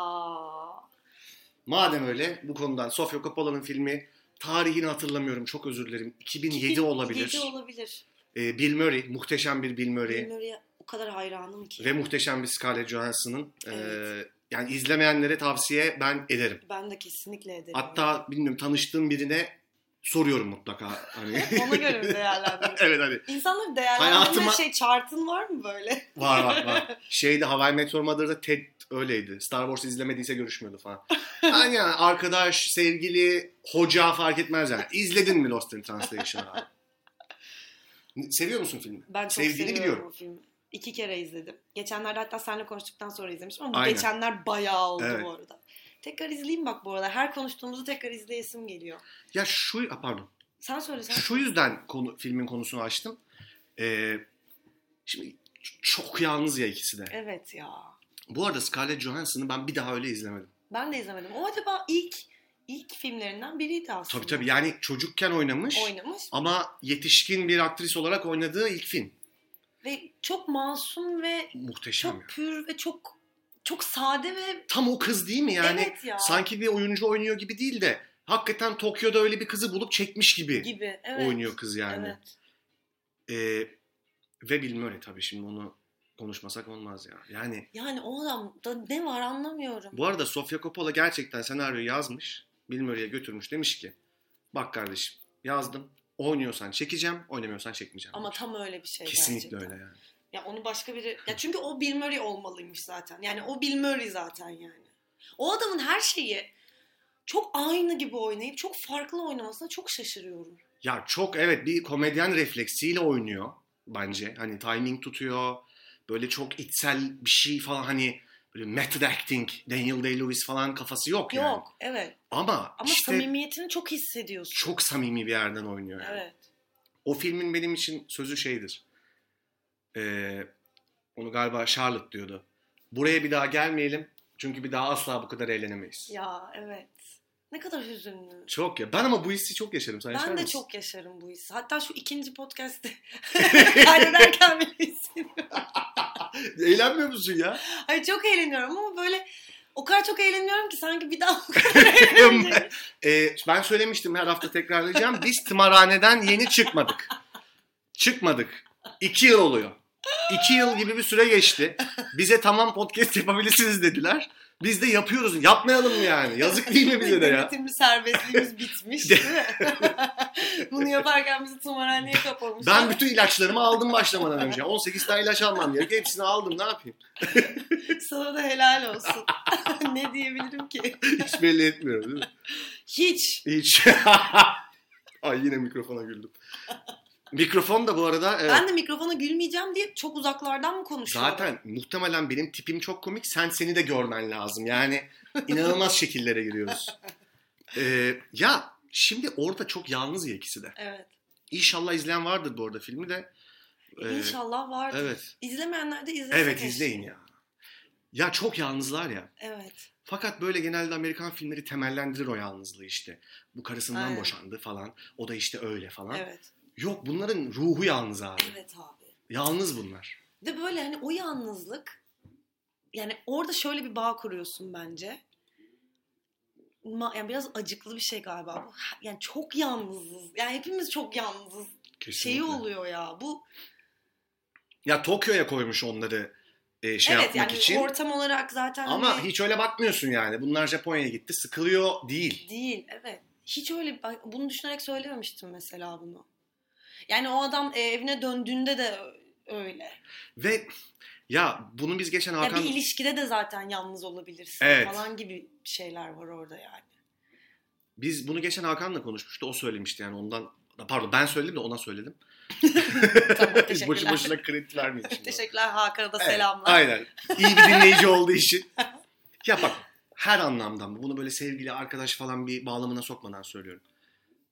Speaker 1: Madem öyle bu konudan Sofia Coppola'nın filmi tarihini hatırlamıyorum çok özür dilerim 2007 olabilir.
Speaker 2: 7 olabilir.
Speaker 1: E, Bill Murray muhteşem bir Bill Murray.
Speaker 2: Bill Murray'e o kadar hayranım ki.
Speaker 1: Ve muhteşem bir Scarlett Johansson'ın. e,
Speaker 2: Evet.
Speaker 1: yani izlemeyenlere tavsiye ben ederim.
Speaker 2: Ben de kesinlikle ederim.
Speaker 1: Hatta bilmiyorum tanıştığım birine soruyorum mutlaka. Hani.
Speaker 2: Ona göre mi değerlendirir?
Speaker 1: evet hani
Speaker 2: İnsanların değerlendirme
Speaker 1: Hayatıma-
Speaker 2: şey chartın var mı böyle?
Speaker 1: var var var. Şeyde Hawaii Meteor Mother'da Ted öyleydi. Star Wars izlemediyse görüşmüyordu falan. Yani, yani arkadaş, sevgili, hoca fark etmez yani. İzledin mi Lost in Translation abi? Seviyor musun filmi?
Speaker 2: Ben çok
Speaker 1: Sevdiğini
Speaker 2: seviyorum
Speaker 1: biliyorum.
Speaker 2: o filmi. İki kere izledim. Geçenlerde hatta seninle konuştuktan sonra izlemiştim ama bu
Speaker 1: Aynen.
Speaker 2: geçenler bayağı oldu
Speaker 1: Evet.
Speaker 2: bu arada. Tekrar izleyeyim bak bu arada. Her konuştuğumuzu tekrar izleyesim geliyor.
Speaker 1: Ya şu, ha, pardon.
Speaker 2: Sen söyle sen.
Speaker 1: Şu yüzden konu, filmin konusunu açtım. Ee, şimdi çok yalnız ya ikisi de.
Speaker 2: Evet ya.
Speaker 1: Bu arada Scarlett Johansson'ı ben bir daha öyle izlemedim.
Speaker 2: Ben de izlemedim. O acaba ilk ilk filmlerinden biriydi aslında.
Speaker 1: Tabii tabii yani çocukken oynamış
Speaker 2: Oynamış.
Speaker 1: ama yetişkin bir aktris olarak oynadığı ilk film.
Speaker 2: Ve çok masum ve
Speaker 1: Muhteşem ya.
Speaker 2: çok pür ve çok çok sade ve
Speaker 1: Tam o kız değil mi yani?
Speaker 2: evet ya.
Speaker 1: Sanki bir oyuncu oynuyor gibi değil de hakikaten Tokyo'da öyle bir kızı bulup çekmiş gibi,
Speaker 2: gibi. Evet.
Speaker 1: oynuyor kız yani.
Speaker 2: Evet.
Speaker 1: Ee, ve Bill Murray tabii şimdi onu konuşmasak olmaz ya. Yani
Speaker 2: Yani o adamda ne var anlamıyorum.
Speaker 1: bu arada Sofia Coppola gerçekten senaryoyu yazmış. Bill Murray'e götürmüş demiş ki bak kardeşim yazdım Oynuyorsan çekeceğim, oynamıyorsan çekmeyeceğim.
Speaker 2: Ama tam öyle bir şey
Speaker 1: Kesinlikle
Speaker 2: gerçekten.
Speaker 1: öyle yani.
Speaker 2: Ya onu başka biri... Ya çünkü o Bill Murray olmalıymış zaten. Yani o Bill Murray zaten yani. O adamın her şeyi çok aynı gibi oynayıp çok farklı oynamasına çok şaşırıyorum.
Speaker 1: Ya çok evet bir komedyen refleksiyle oynuyor bence. Hani timing tutuyor. Böyle çok içsel bir şey falan hani böyle method acting, Daniel Day-Lewis falan kafası yok, yani.
Speaker 2: Yok, evet.
Speaker 1: Ama,
Speaker 2: Ama
Speaker 1: işte
Speaker 2: samimiyetini çok hissediyorsun.
Speaker 1: çok samimi bir yerden oynuyor yani.
Speaker 2: Evet.
Speaker 1: O filmin benim için sözü şeydir. Ee, onu galiba Charlotte diyordu. Buraya bir daha gelmeyelim. Çünkü bir daha asla bu kadar eğlenemeyiz.
Speaker 2: Ya evet. Ne kadar hüzünlü.
Speaker 1: Çok ya. Ben ama bu hissi çok yaşarım. Sen yaşar
Speaker 2: Ben de
Speaker 1: mısın?
Speaker 2: çok yaşarım bu hissi. Hatta şu ikinci podcast'te kaydederken bile hissediyorum.
Speaker 1: Eğlenmiyor musun ya?
Speaker 2: Ay çok eğleniyorum ama böyle o kadar çok eğleniyorum ki sanki bir daha o kadar şey- eğleneceğim.
Speaker 1: Ee, ben söylemiştim her hafta tekrarlayacağım. Biz tımarhaneden yeni çıkmadık. Çıkmadık. İki yıl oluyor. İki yıl gibi bir süre geçti. Bize tamam podcast yapabilirsiniz dediler. Biz de yapıyoruz. Yapmayalım mı yani? Yazık değil mi bize de ya?
Speaker 2: Denetimli serbestliğimiz bitmiş değil mi? Bunu yaparken bizi tımarhaneye kapamışlar.
Speaker 1: Ben bütün ilaçlarımı aldım başlamadan önce. 18 tane ilaç almam gerekiyor. Hepsini aldım ne yapayım?
Speaker 2: Sana da helal olsun. ne diyebilirim ki?
Speaker 1: Hiç belli etmiyorum değil mi?
Speaker 2: Hiç.
Speaker 1: Hiç. Ay yine mikrofona güldüm. Mikrofon da bu arada evet,
Speaker 2: Ben de mikrofona gülmeyeceğim diye çok uzaklardan mı konuşuyorum?
Speaker 1: zaten muhtemelen benim tipim çok komik. Sen seni de görmen lazım. Yani inanılmaz şekillere giriyoruz. Ee, ya şimdi orada çok yalnız ya ikisi de.
Speaker 2: Evet.
Speaker 1: İnşallah izleyen vardır bu arada filmi de. Ee,
Speaker 2: İnşallah vardır.
Speaker 1: Evet.
Speaker 2: İzlemeyenler de izlesin.
Speaker 1: Evet
Speaker 2: keşke.
Speaker 1: izleyin ya. Ya çok yalnızlar ya.
Speaker 2: Evet.
Speaker 1: Fakat böyle genelde Amerikan filmleri temellendirir o yalnızlığı işte. Bu karısından
Speaker 2: Aynen.
Speaker 1: boşandı falan. O da işte öyle falan.
Speaker 2: Evet.
Speaker 1: Yok bunların ruhu yalnız abi.
Speaker 2: Evet abi.
Speaker 1: Yalnız bunlar.
Speaker 2: De böyle hani o yalnızlık yani orada şöyle bir bağ kuruyorsun bence. Ma- yani biraz acıklı bir şey galiba bu. Ha- Yani çok yalnızız. Yani hepimiz çok yalnızız.
Speaker 1: Kesinlikle.
Speaker 2: Şeyi oluyor ya. Bu
Speaker 1: Ya Tokyo'ya koymuş onları e, şey
Speaker 2: evet
Speaker 1: yapmak
Speaker 2: yani
Speaker 1: için.
Speaker 2: ortam olarak zaten
Speaker 1: Ama
Speaker 2: hani-
Speaker 1: hiç öyle bakmıyorsun yani. Bunlar Japonya'ya gitti. Sıkılıyor değil.
Speaker 2: Değil evet. Hiç öyle ben bunu düşünerek söylememiştim mesela bunu. Yani o adam e, evine döndüğünde de ö- öyle.
Speaker 1: Ve ya bunu biz geçen
Speaker 2: Ya
Speaker 1: Hakan...
Speaker 2: bir ilişkide de zaten yalnız olabilirsin
Speaker 1: Evet.
Speaker 2: falan gibi şeyler var orada yani.
Speaker 1: Biz bunu geçen Hakan'la konuşmuştu. O söylemişti yani ondan... Pardon ben söyledim de ona söyledim.
Speaker 2: Tamam, teşekkürler.
Speaker 1: Boşu boşuna kredi vermeyin şimdi.
Speaker 2: Teşekkürler Hakan'a da
Speaker 1: Evet,
Speaker 2: selamlar.
Speaker 1: Aynen. İyi bir dinleyici olduğu için. Ya bak her anlamdan bunu böyle sevgili arkadaş falan bir bağlamına sokmadan söylüyorum.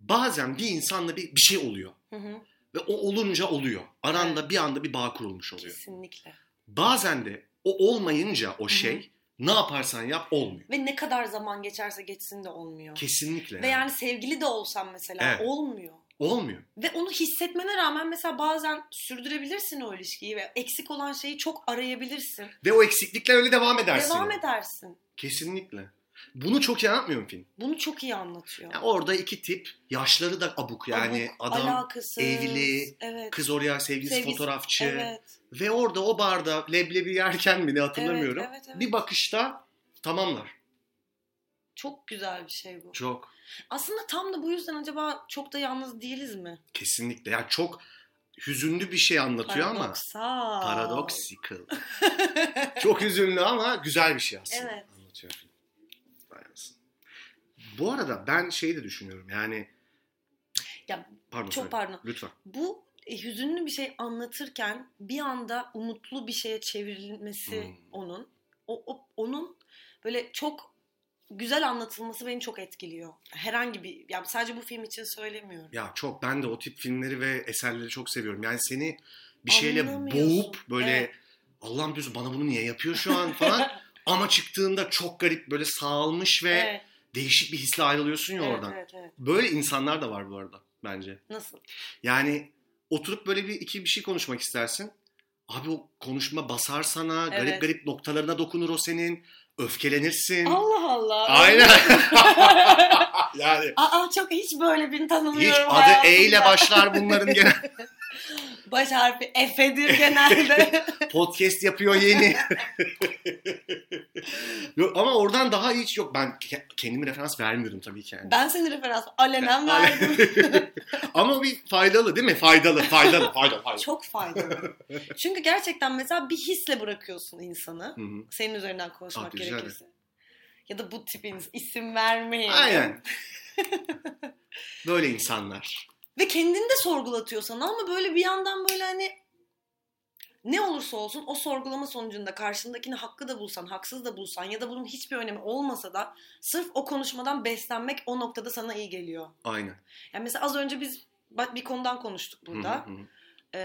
Speaker 1: Bazen bir insanla bir, bir şey oluyor.
Speaker 2: Hı hı,
Speaker 1: Ve o olunca oluyor. Aranda bir anda bir bağ kurulmuş oluyor.
Speaker 2: kesinlikle.
Speaker 1: Bazen de o olmayınca o şey ne yaparsan yap olmuyor.
Speaker 2: Ve ne kadar zaman geçerse geçsin de olmuyor.
Speaker 1: Kesinlikle.
Speaker 2: Ve yani sevgili de olsan mesela
Speaker 1: Evet.
Speaker 2: olmuyor.
Speaker 1: Olmuyor.
Speaker 2: Ve onu hissetmene rağmen mesela bazen sürdürebilirsin o ilişkiyi ve eksik olan şeyi çok arayabilirsin.
Speaker 1: Ve o eksiklikler öyle devam edersin.
Speaker 2: Devam edersin.
Speaker 1: Kesinlikle. Bunu çok iyi anlatmıyor film.
Speaker 2: Bunu çok iyi anlatıyor.
Speaker 1: Yani orada iki tip yaşları da abuk yani
Speaker 2: Abuk,
Speaker 1: adam
Speaker 2: alakasız,
Speaker 1: evli,
Speaker 2: evet,
Speaker 1: kız oraya sevgilisi,
Speaker 2: Sevgilisi,
Speaker 1: fotoğrafçı.
Speaker 2: evet,
Speaker 1: Ve orada o barda leblebi yerken mi ne hatırlamıyorum.
Speaker 2: Evet, evet, evet.
Speaker 1: Bir bakışta tamamlar.
Speaker 2: Çok güzel bir şey bu.
Speaker 1: Çok.
Speaker 2: Aslında tam da bu yüzden acaba çok da yalnız değiliz mi?
Speaker 1: Kesinlikle. Ya çok hüzünlü bir şey anlatıyor
Speaker 2: Paradoksal.
Speaker 1: ama paradoxical. çok hüzünlü ama güzel bir şey aslında
Speaker 2: Evet.
Speaker 1: anlatıyor film. Vay anasını. Bu arada ben şeyi de düşünüyorum yani
Speaker 2: Ya,
Speaker 1: pardon
Speaker 2: çok
Speaker 1: söyle.
Speaker 2: pardon.
Speaker 1: Lütfen.
Speaker 2: Bu e, hüzünlü bir şey anlatırken bir anda umutlu bir şeye çevrilmesi
Speaker 1: Hmm.
Speaker 2: onun, o, o- onun böyle çok güzel anlatılması beni çok etkiliyor. Herhangi bir, ya sadece bu film için söylemiyorum.
Speaker 1: Ya çok ben de o tip filmleri ve eserleri çok seviyorum. Yani seni bir şeyle
Speaker 2: Anlamıyorsun.
Speaker 1: boğup böyle
Speaker 2: Evet.
Speaker 1: Allah'ım diyorsun bana bunu niye yapıyor şu an falan. Ama çıktığında çok garip böyle sağılmış ve
Speaker 2: evet,
Speaker 1: değişik bir hisle ayrılıyorsun ya
Speaker 2: evet,
Speaker 1: oradan.
Speaker 2: evet, evet.
Speaker 1: Böyle insanlar da var bu arada bence.
Speaker 2: Nasıl?
Speaker 1: Yani oturup böyle bir iki bir şey konuşmak istersin. Abi o konuşma basar sana, garip
Speaker 2: Evet.
Speaker 1: garip noktalarına dokunur o senin. Öfkelenirsin.
Speaker 2: Allah Allah.
Speaker 1: Aynen. yani
Speaker 2: Aa çok hiç böyle birini tanımıyorum
Speaker 1: hiç adı
Speaker 2: hayatımda.
Speaker 1: E ile başlar bunların genel.
Speaker 2: Baş harfi Efe'dir genelde.
Speaker 1: Podcast yapıyor yeni. yok, ama oradan daha iyi hiç yok. Ben ke- kendimi referans vermiyorum tabii ki. Yani.
Speaker 2: ben seni referans alenen verdim.
Speaker 1: ama bir faydalı değil mi? Faydalı, faydalı, faydalı. faydalı.
Speaker 2: Çok faydalı. Çünkü gerçekten mesela bir hisle bırakıyorsun insanı.
Speaker 1: Hı hı.
Speaker 2: Senin üzerinden konuşmak
Speaker 1: Ah, güzel.
Speaker 2: gerekirse. Ya da bu tipiniz isim vermeyin.
Speaker 1: Aynen. Böyle insanlar.
Speaker 2: Ve kendini de sorgulatıyor sana ama böyle bir yandan böyle hani ne olursa olsun o sorgulama sonucunda karşındakini hakkı da bulsan, haksız da bulsan ya da bunun hiçbir önemi olmasa da sırf o konuşmadan beslenmek o noktada sana iyi geliyor.
Speaker 1: Aynen.
Speaker 2: Yani mesela az önce biz ba- bir konudan konuştuk
Speaker 1: Hı
Speaker 2: burada.
Speaker 1: hı hı.
Speaker 2: Ee,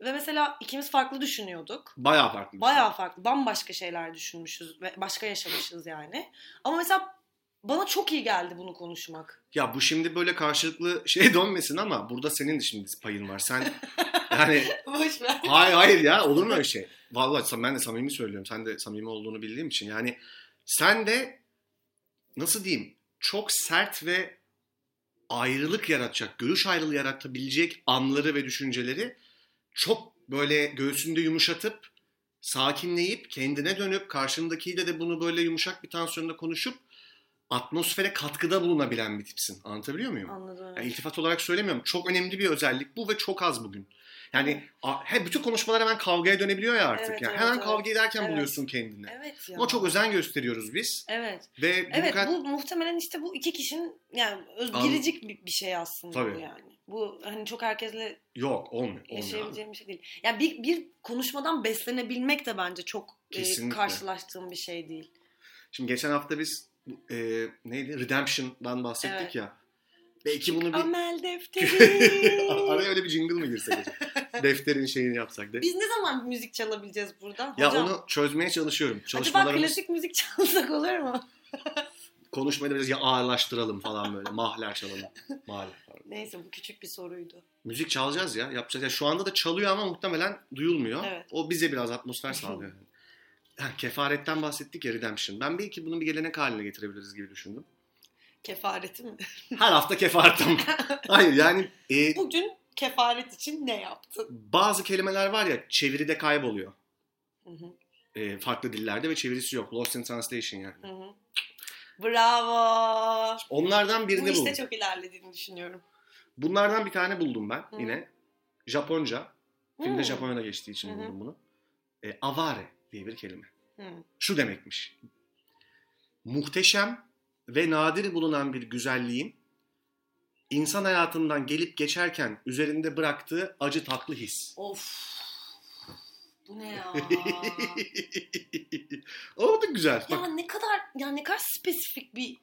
Speaker 2: ve mesela ikimiz farklı düşünüyorduk.
Speaker 1: Bayağı farklı.
Speaker 2: Bayağı farklı, bambaşka şeyler düşünmüşüz ve başka yaşamışız yani. Ama mesela bana çok iyi geldi bunu konuşmak.
Speaker 1: Ya bu şimdi böyle karşılıklı şey dönmesin ama burada senin de şimdi payın var. Sen yani
Speaker 2: Boş ver.
Speaker 1: hayır hayır ya olur mu öyle şey? Vallahi sam- ben de samimi söylüyorum. Sen de samimi olduğunu bildiğim için. Yani sen de nasıl diyeyim çok sert ve ayrılık yaratacak, görüş ayrılığı yaratabilecek anları ve düşünceleri çok böyle göğsünde yumuşatıp sakinleyip kendine dönüp karşındakiyle de bunu böyle yumuşak bir tansiyonda konuşup atmosfere katkıda bulunabilen bir tipsin. Anlatabiliyor muyum?
Speaker 2: Anladım.
Speaker 1: Yani iltifat olarak söylemiyorum. Çok önemli bir özellik bu ve çok az bugün. Yani a- he, bütün konuşmalar hemen kavgaya dönebiliyor ya artık.
Speaker 2: Evet,
Speaker 1: yani
Speaker 2: evet,
Speaker 1: hemen
Speaker 2: evet.
Speaker 1: kavga ederken
Speaker 2: Evet.
Speaker 1: buluyorsun kendini.
Speaker 2: Evet ya.
Speaker 1: Ama çok özen gösteriyoruz biz.
Speaker 2: Evet.
Speaker 1: Ve bu
Speaker 2: Evet
Speaker 1: kadar-
Speaker 2: bu muhtemelen işte bu iki kişinin yani
Speaker 1: An-
Speaker 2: özgürlük bir, bir şey aslında
Speaker 1: Tabii.
Speaker 2: bu yani. Bu hani çok herkesle
Speaker 1: Yok olmuyor. olmuyor.
Speaker 2: yaşayabileceğim bir şey değil. Yani bir, bir konuşmadan beslenebilmek de bence çok e,
Speaker 1: Kesinlikle.
Speaker 2: karşılaştığım bir şey değil.
Speaker 1: Şimdi geçen hafta biz bu, e, neydi? Redemption'dan bahsettik
Speaker 2: Evet.
Speaker 1: ya. Belki bunu bir...
Speaker 2: Amel defteri.
Speaker 1: Araya öyle bir jingle mı girsek? acaba? Defterin şeyini yapsak. De.
Speaker 2: Biz ne zaman müzik çalabileceğiz burada?
Speaker 1: Ya
Speaker 2: Hocam,
Speaker 1: onu çözmeye çalışıyorum.
Speaker 2: acaba
Speaker 1: Çalışmalarımız
Speaker 2: klasik müzik çalsak olur mu?
Speaker 1: konuşmayı da biraz ya ağırlaştıralım falan böyle. Mahler çalalım. Mahler falan.
Speaker 2: Neyse bu küçük bir soruydu.
Speaker 1: Müzik çalacağız ya. Yapacağız. Ya şu anda da çalıyor ama muhtemelen duyulmuyor.
Speaker 2: Evet.
Speaker 1: O bize biraz atmosfer sağlıyor. Ha, kefaretten bahsettik ya Redemption. Ben belki bunu bir gelenek haline getirebiliriz gibi düşündüm.
Speaker 2: Kefareti mi?
Speaker 1: Her hafta kefaretten. Hayır yani e,
Speaker 2: Bugün kefaret için ne yaptın?
Speaker 1: bazı kelimeler var ya çeviride kayboluyor.
Speaker 2: Hı hı,
Speaker 1: E, farklı dillerde ve çevirisi yok. Lost in Translation yani.
Speaker 2: hı hı. Bravo.
Speaker 1: Onlardan birini
Speaker 2: Bu işte
Speaker 1: buldum.
Speaker 2: çok ilerlediğini düşünüyorum.
Speaker 1: Bunlardan bir tane buldum ben
Speaker 2: Hı.
Speaker 1: yine. Japonca. Filmde
Speaker 2: Hmm.
Speaker 1: Japonya'da geçtiği için
Speaker 2: Hı hı.
Speaker 1: buldum bunu. E, avare diye bir kelime.
Speaker 2: Hmm.
Speaker 1: şu demekmiş. Muhteşem ve nadir bulunan bir güzelliğin insan hayatından gelip geçerken üzerinde bıraktığı acı tatlı his.
Speaker 2: Of. Bu ne ya?
Speaker 1: o da güzel.
Speaker 2: ya
Speaker 1: Bak,
Speaker 2: ne kadar ya ne kadar spesifik bir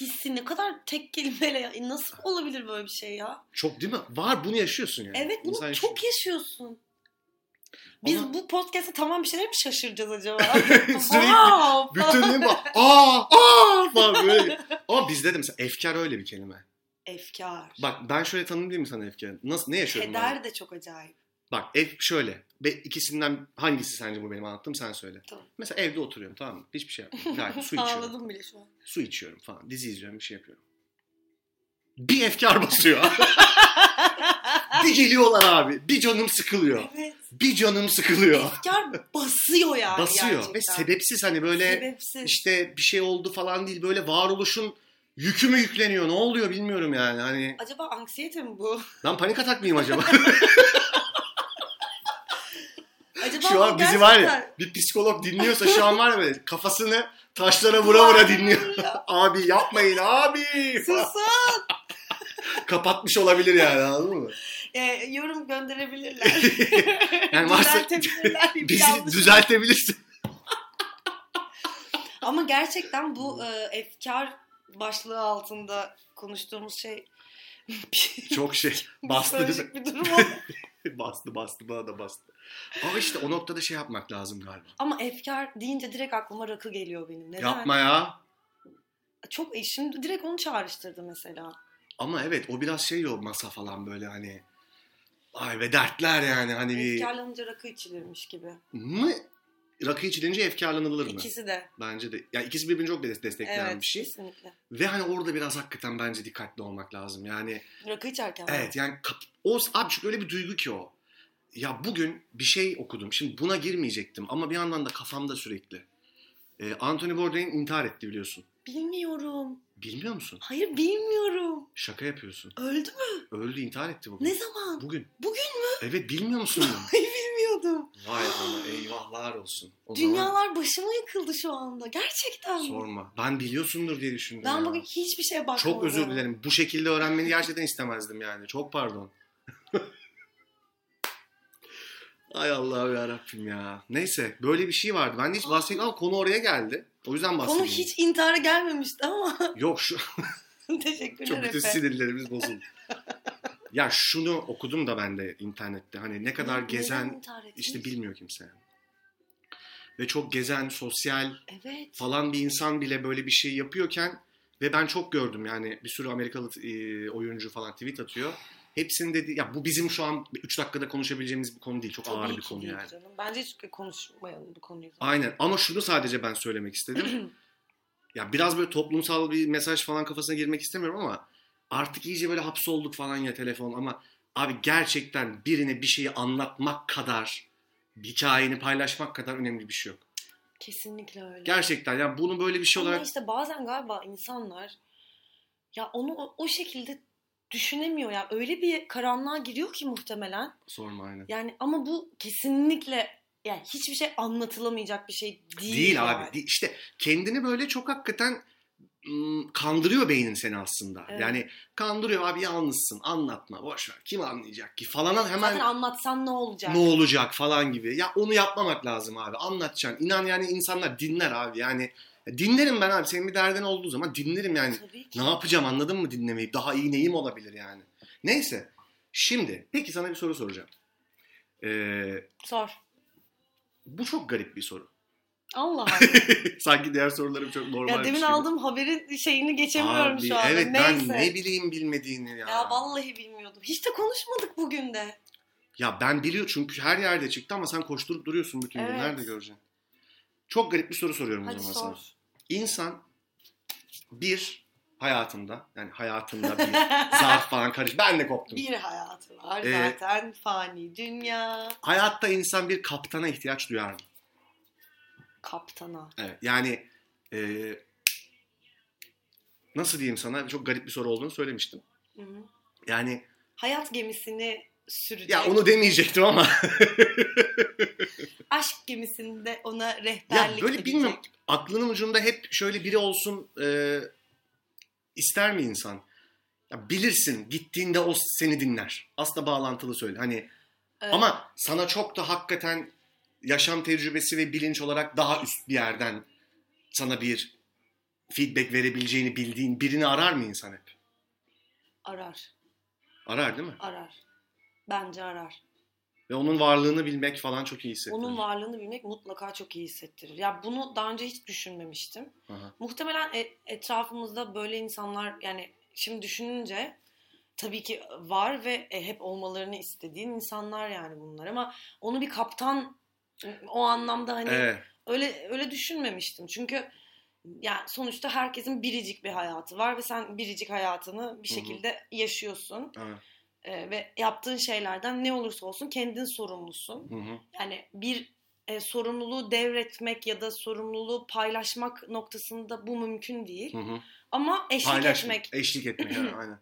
Speaker 2: hissi ne kadar tek kelimeyle ya. E nasıl olabilir böyle bir şey ya?
Speaker 1: çok değil mi? Var bunu yaşıyorsun yani.
Speaker 2: Evet bunu
Speaker 1: İnsan yaşıyor.
Speaker 2: çok yaşıyorsun. Biz
Speaker 1: Ama-
Speaker 2: bu podcast'te tamam bir şeyler mi şaşıracağız acaba?
Speaker 1: Sürekli-
Speaker 2: wow!
Speaker 1: Bütünlüğün bak. Aa! Aa! Falan böyle. Ama bizde de mesela efkar öyle bir kelime.
Speaker 2: Efkar.
Speaker 1: Bak ben şöyle tanımlayayım mı sana efkarı? Nasıl, ne yaşıyorum ben?
Speaker 2: Keder de çok acayip.
Speaker 1: Bak ev şöyle. Be, ikisinden hangisi sence bu benim anlattığım sen söyle.
Speaker 2: Tamam.
Speaker 1: Mesela evde oturuyorum tamam mı? Hiçbir şey yapmıyorum. Gayet su içiyorum.
Speaker 2: Ağladım bile şu an.
Speaker 1: Su içiyorum falan. Dizi izliyorum bir şey yapıyorum. Bir efkar basıyor. bir geliyorlar abi. Bir canım sıkılıyor.
Speaker 2: evet.
Speaker 1: Bir canım sıkılıyor.
Speaker 2: Efkar basıyor yani
Speaker 1: Basıyor
Speaker 2: gerçekten.
Speaker 1: ve sebepsiz hani böyle
Speaker 2: Sebepsiz.
Speaker 1: işte bir şey oldu falan değil. Böyle varoluşun yükü mü yükleniyor? Ne oluyor bilmiyorum yani. Hani
Speaker 2: Acaba anksiyete mi bu?
Speaker 1: ben panik atak mıyım acaba?
Speaker 2: Acaba
Speaker 1: şu
Speaker 2: bu
Speaker 1: an bizi var
Speaker 2: gerçekten-
Speaker 1: ya bir psikolog dinliyorsa şu an var ya böyle kafasını taşlara vura vura dinliyor. abi yapmayın abi.
Speaker 2: Susun.
Speaker 1: Kapatmış olabilir yani anladın mı?
Speaker 2: Ee, yorum gönderebilirler.
Speaker 1: Yani varsa
Speaker 2: Düzeltebilirler.
Speaker 1: bizi
Speaker 2: Yanlış.
Speaker 1: düzeltebilirsin.
Speaker 2: Ama gerçekten bu e, efkar başlığı altında konuştuğumuz şey
Speaker 1: Çok şey bastı değil mi?
Speaker 2: psikolojik bir durum oldu.
Speaker 1: bastı bastı bana da bastı. Ama işte o noktada şey yapmak lazım galiba.
Speaker 2: Ama efkar deyince direkt aklıma rakı geliyor benim. Neden?
Speaker 1: Yapma ya.
Speaker 2: Çok e, şimdi direkt onu çağrıştırdı mesela.
Speaker 1: Ama evet o biraz şey o masa falan böyle hani. Ay ve dertler yani hani bir
Speaker 2: Efkarlanınca rakı içilirmiş gibi.
Speaker 1: mı rakı içilince efkarlanılır mı?
Speaker 2: İkisi de.
Speaker 1: Bence de. Yani ikisi birbirini çok des- destekleyen
Speaker 2: Evet
Speaker 1: bir şey.
Speaker 2: kesinlikle.
Speaker 1: Ve hani orada biraz hakikaten bence dikkatli olmak lazım. Yani
Speaker 2: Rakı içerken.
Speaker 1: evet yani kap- o abi çünkü öyle bir duygu ki o. Ya bugün bir şey okudum. Şimdi buna girmeyecektim ama bir yandan da kafamda sürekli. Ee, Anthony Bourdain intihar etti biliyorsun.
Speaker 2: Bilmiyorum.
Speaker 1: Bilmiyor musun?
Speaker 2: Hayır bilmiyorum.
Speaker 1: Şaka yapıyorsun.
Speaker 2: Öldü mü?
Speaker 1: Öldü intihar etti bugün.
Speaker 2: Ne zaman?
Speaker 1: Bugün.
Speaker 2: Bugün
Speaker 1: mü? Evet bilmiyor musun bunu?
Speaker 2: Ay bilmiyordum.
Speaker 1: Vay bana eyvahlar olsun. O zaman
Speaker 2: Dünyalar başıma yıkıldı şu anda. Gerçekten mi?
Speaker 1: sorma. Ben biliyorsundur diye düşündüm.
Speaker 2: Ben
Speaker 1: ya.
Speaker 2: bugün hiçbir şeye bakmadım.
Speaker 1: Çok özür dilerim. Bu şekilde öğrenmeni gerçekten istemezdim yani. Çok pardon. Ay Allah'ım ya Rabbim ya. Neyse böyle bir şey vardı. Ben de hiç bahsetmedim ama konu oraya geldi. O yüzden bahsedeyim.
Speaker 2: Konu hiç intihara gelmemişti ama
Speaker 1: Yok şu
Speaker 2: teşekkürler
Speaker 1: çok bütün
Speaker 2: Efe.
Speaker 1: sinirlerimiz bozuldu. ya şunu okudum da ben de internette. Hani ne kadar
Speaker 2: Neden
Speaker 1: gezen
Speaker 2: intihar etmiş?
Speaker 1: işte bilmiyor kimse. Ve çok gezen, sosyal,
Speaker 2: Evet.
Speaker 1: falan bir insan bile böyle bir şey yapıyorken ve ben çok gördüm yani bir sürü Amerikalı e, oyuncu falan tweet atıyor. Hepsinin dedi ya bu bizim şu an 3 dakikada konuşabileceğimiz bir konu değil. Çok ağır
Speaker 2: Tabii
Speaker 1: bir
Speaker 2: ki
Speaker 1: konu
Speaker 2: değil
Speaker 1: yani.
Speaker 2: canım. Bence hiç konuşmayalım bu konuyu.
Speaker 1: Aynen ama şunu sadece ben söylemek istedim. ya biraz böyle toplumsal bir mesaj falan kafasına girmek istemiyorum ama artık iyice böyle hapsolduk falan ya telefon ama abi gerçekten birine bir şeyi anlatmak kadar hikayeni paylaşmak kadar önemli bir şey yok.
Speaker 2: Kesinlikle öyle.
Speaker 1: Gerçekten ya bunu böyle bir şey
Speaker 2: Ama
Speaker 1: olarak
Speaker 2: işte bazen galiba insanlar ya onu o, o şekilde düşünemiyor ya. Öyle bir karanlığa giriyor ki muhtemelen.
Speaker 1: sorma aynen.
Speaker 2: Yani ama bu kesinlikle yani hiçbir şey anlatılamayacak bir şey değil.
Speaker 1: Değil
Speaker 2: yani.
Speaker 1: abi. Değil. İşte kendini böyle çok hakikaten ım, kandırıyor beynin seni aslında.
Speaker 2: Evet.
Speaker 1: Yani kandırıyor abi yalnızsın anlatma boş ver kim anlayacak ki falan hemen
Speaker 2: Zaten anlatsan ne olacak?
Speaker 1: ne olacak falan gibi. Ya onu yapmamak lazım abi anlatacaksın. İnan yani insanlar dinler abi yani dinlerim ben abi senin bir derdin olduğu zaman dinlerim yani.
Speaker 2: Tabii ki.
Speaker 1: Ne yapacağım anladın mı dinlemeyip daha iyi neyim olabilir yani. Neyse şimdi peki sana bir soru soracağım. Ee,
Speaker 2: Sor.
Speaker 1: bu çok garip bir soru.
Speaker 2: Allah Allah.
Speaker 1: Sanki diğer sorularım çok normal. şey
Speaker 2: ya demin aldığım haberin şeyini geçemiyorum
Speaker 1: Abi,
Speaker 2: şu anda.
Speaker 1: Evet
Speaker 2: Neyse.
Speaker 1: ben ne bileyim bilmediğini ya.
Speaker 2: Ya vallahi bilmiyordum. Hiç de konuşmadık bugün de.
Speaker 1: Ya ben biliyorum çünkü her yerde çıktı ama sen koşturup duruyorsun bütün gün.
Speaker 2: Evet.
Speaker 1: Nerede göreceksin? Çok garip bir soru soruyorum o
Speaker 2: Hadi
Speaker 1: zaman
Speaker 2: sor.
Speaker 1: sana. İnsan bir hayatında yani hayatında bir zarf falan karış. Ben de koptum.
Speaker 2: bir hayatı var
Speaker 1: Ee,
Speaker 2: zaten fani dünya.
Speaker 1: Hayatta insan bir kaptana ihtiyaç duyar mı?
Speaker 2: Kaptana.
Speaker 1: Evet. Yani e, nasıl diyeyim sana? Çok garip bir soru olduğunu söylemiştim.
Speaker 2: Hı hı.
Speaker 1: Yani
Speaker 2: Hayat gemisini sürecek.
Speaker 1: ya onu demeyecektim ama
Speaker 2: Aşk gemisinde ona
Speaker 1: Ya
Speaker 2: rehberlik
Speaker 1: böyle
Speaker 2: edecek.
Speaker 1: bilmiyorum aklının ucunda hep şöyle biri olsun e, ister mi insan? Ya bilirsin gittiğinde o seni dinler. Aslında bağlantılı söyle. Hani
Speaker 2: Evet.
Speaker 1: ama sana çok da hakikaten yaşam tecrübesi ve bilinç olarak daha üst bir yerden sana bir feedback verebileceğini bildiğin birini arar mı insan hep?
Speaker 2: Arar.
Speaker 1: Arar değil mi?
Speaker 2: Arar. Bence arar.
Speaker 1: Ve onun varlığını bilmek falan çok iyi hissettirir.
Speaker 2: Onun varlığını bilmek mutlaka çok iyi hissettirir. Ya bunu daha önce hiç düşünmemiştim.
Speaker 1: Aha.
Speaker 2: Muhtemelen e- etrafımızda böyle insanlar yani şimdi düşününce tabii ki var ve e, hep olmalarını istediğin insanlar yani bunlar ama onu bir kaptan o anlamda hani
Speaker 1: Evet.
Speaker 2: öyle öyle düşünmemiştim. Çünkü yani sonuçta herkesin biricik bir hayatı var ve sen biricik hayatını bir
Speaker 1: Hı hı.
Speaker 2: şekilde yaşıyorsun.
Speaker 1: evet.
Speaker 2: E, ve yaptığın şeylerden ne olursa olsun kendin sorumlusun.
Speaker 1: Hı hı.
Speaker 2: Yani bir e, sorumluluğu devretmek ya da sorumluluğu paylaşmak noktasında bu mümkün değil.
Speaker 1: Hı hı.
Speaker 2: Ama eşlik
Speaker 1: Paylaşmak.
Speaker 2: etmek,
Speaker 1: Eşlik etmek. evet, Aynen.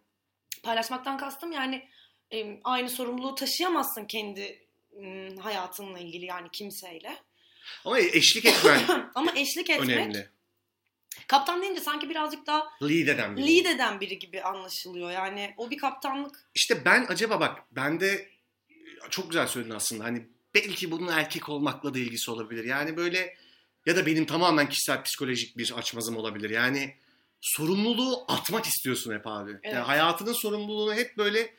Speaker 2: paylaşmaktan kastım yani e, aynı sorumluluğu taşıyamazsın kendi m, hayatınla ilgili yani kimseyle.
Speaker 1: Ama eşlik etmen
Speaker 2: Ama eşlik etmek,
Speaker 1: önemli.
Speaker 2: kaptan deyince sanki birazcık daha
Speaker 1: Lead eden biri.
Speaker 2: lead eden biri gibi anlaşılıyor. Yani o bir kaptanlık
Speaker 1: İşte ben acaba bak bende çok güzel söyledin aslında hani belki bunun erkek olmakla da ilgisi olabilir. Yani böyle ya da benim tamamen kişisel psikolojik bir açmazım olabilir. Yani sorumluluğu atmak istiyorsun hep abi.
Speaker 2: Evet.
Speaker 1: Yani hayatının sorumluluğunu hep böyle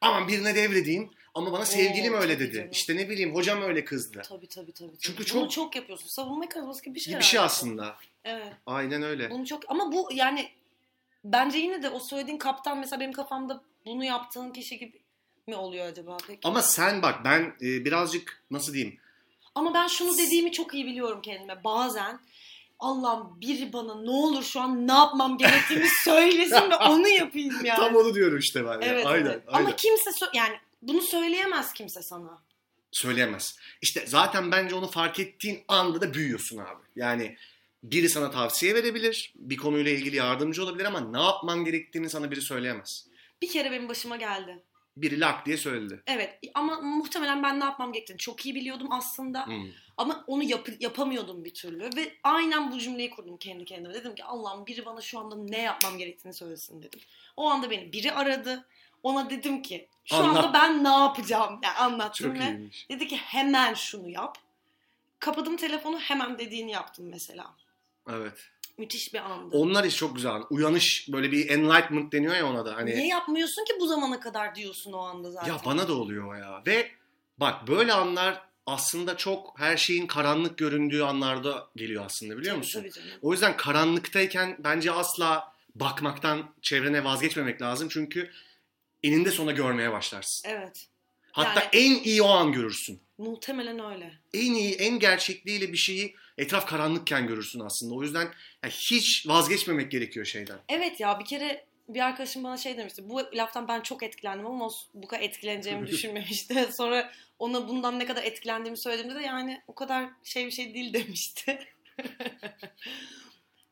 Speaker 1: aman birine devredeyim ama bana sevgilim
Speaker 2: Oo,
Speaker 1: öyle
Speaker 2: tabii
Speaker 1: dedi.
Speaker 2: canım.
Speaker 1: İşte ne bileyim hocam öyle kızdı.
Speaker 2: tabii tabii tabii. tabii.
Speaker 1: Çünkü
Speaker 2: Bunu
Speaker 1: çok-
Speaker 2: çok yapıyorsun. Savunma mekanizması gibi bir şey.
Speaker 1: Bir şey
Speaker 2: herhalde.
Speaker 1: aslında.
Speaker 2: Evet.
Speaker 1: Aynen öyle.
Speaker 2: Bunu çok ama bu yani bence yine de o söylediğin kaptan mesela benim kafamda bunu yaptığın kişi gibi mi oluyor acaba peki?
Speaker 1: Ama sen bak ben e, birazcık nasıl diyeyim
Speaker 2: Ama ben şunu dediğimi çok iyi biliyorum kendime. Bazen Allah'ım biri bana ne olur şu an ne yapmam gerektiğini söylesin ve onu yapayım yani.
Speaker 1: Tam onu diyorum işte ben. ya.
Speaker 2: evet,
Speaker 1: aynen,
Speaker 2: evet.
Speaker 1: aynen.
Speaker 2: Ama kimse sö- yani bunu söyleyemez kimse sana.
Speaker 1: söyleyemez. İşte zaten bence onu fark ettiğin anda da büyüyorsun abi. Yani biri sana tavsiye verebilir, bir konuyla ilgili yardımcı olabilir ama ne yapman gerektiğini sana biri söyleyemez.
Speaker 2: Bir kere benim başıma geldi.
Speaker 1: Biri lak diye söyledi.
Speaker 2: Evet ama muhtemelen ben ne yapmam gerektiğini çok iyi biliyordum aslında.
Speaker 1: Hmm.
Speaker 2: Ama onu yap- yapamıyordum bir türlü. Ve aynen bu cümleyi kurdum kendi kendime. Dedim ki Allah'ım biri bana şu anda ne yapmam gerektiğini söylesin dedim. O anda beni biri aradı. Ona dedim ki şu
Speaker 1: Anlat.
Speaker 2: anda ben ne yapacağım? Yani anlattım
Speaker 1: Çok
Speaker 2: ve
Speaker 1: iyiymiş.
Speaker 2: dedi ki hemen şunu yap. Kapadım telefonu hemen dediğini yaptım mesela.
Speaker 1: Evet.
Speaker 2: Müthiş bir andı.
Speaker 1: Onlar iş çok güzel. Uyanış böyle bir enlightenment deniyor ya ona da. Hani
Speaker 2: Niye yapmıyorsun ki bu zamana kadar diyorsun o anda zaten.
Speaker 1: Ya bana da oluyor o ya. Ve bak böyle anlar aslında çok her şeyin karanlık göründüğü anlarda geliyor aslında biliyor
Speaker 2: Tabii,
Speaker 1: musun?
Speaker 2: tabii canım.
Speaker 1: O yüzden karanlıktayken bence asla bakmaktan çevrene vazgeçmemek lazım. Çünkü eninde sona görmeye başlarsın.
Speaker 2: Evet.
Speaker 1: Hatta
Speaker 2: Yani-
Speaker 1: en iyi o an görürsün.
Speaker 2: Muhtemelen öyle.
Speaker 1: En iyi, en gerçekliğiyle bir şeyi etraf karanlıkken görürsün aslında. O yüzden ya hiç vazgeçmemek gerekiyor şeyden.
Speaker 2: Evet ya bir kere bir arkadaşım bana şey demişti. Bu laftan ben çok etkilendim ama bu kadar etkileneceğimi düşünmemişti. Sonra ona bundan ne kadar etkilendiğimi söylediğimde de yani o kadar şey bir şey değil demişti.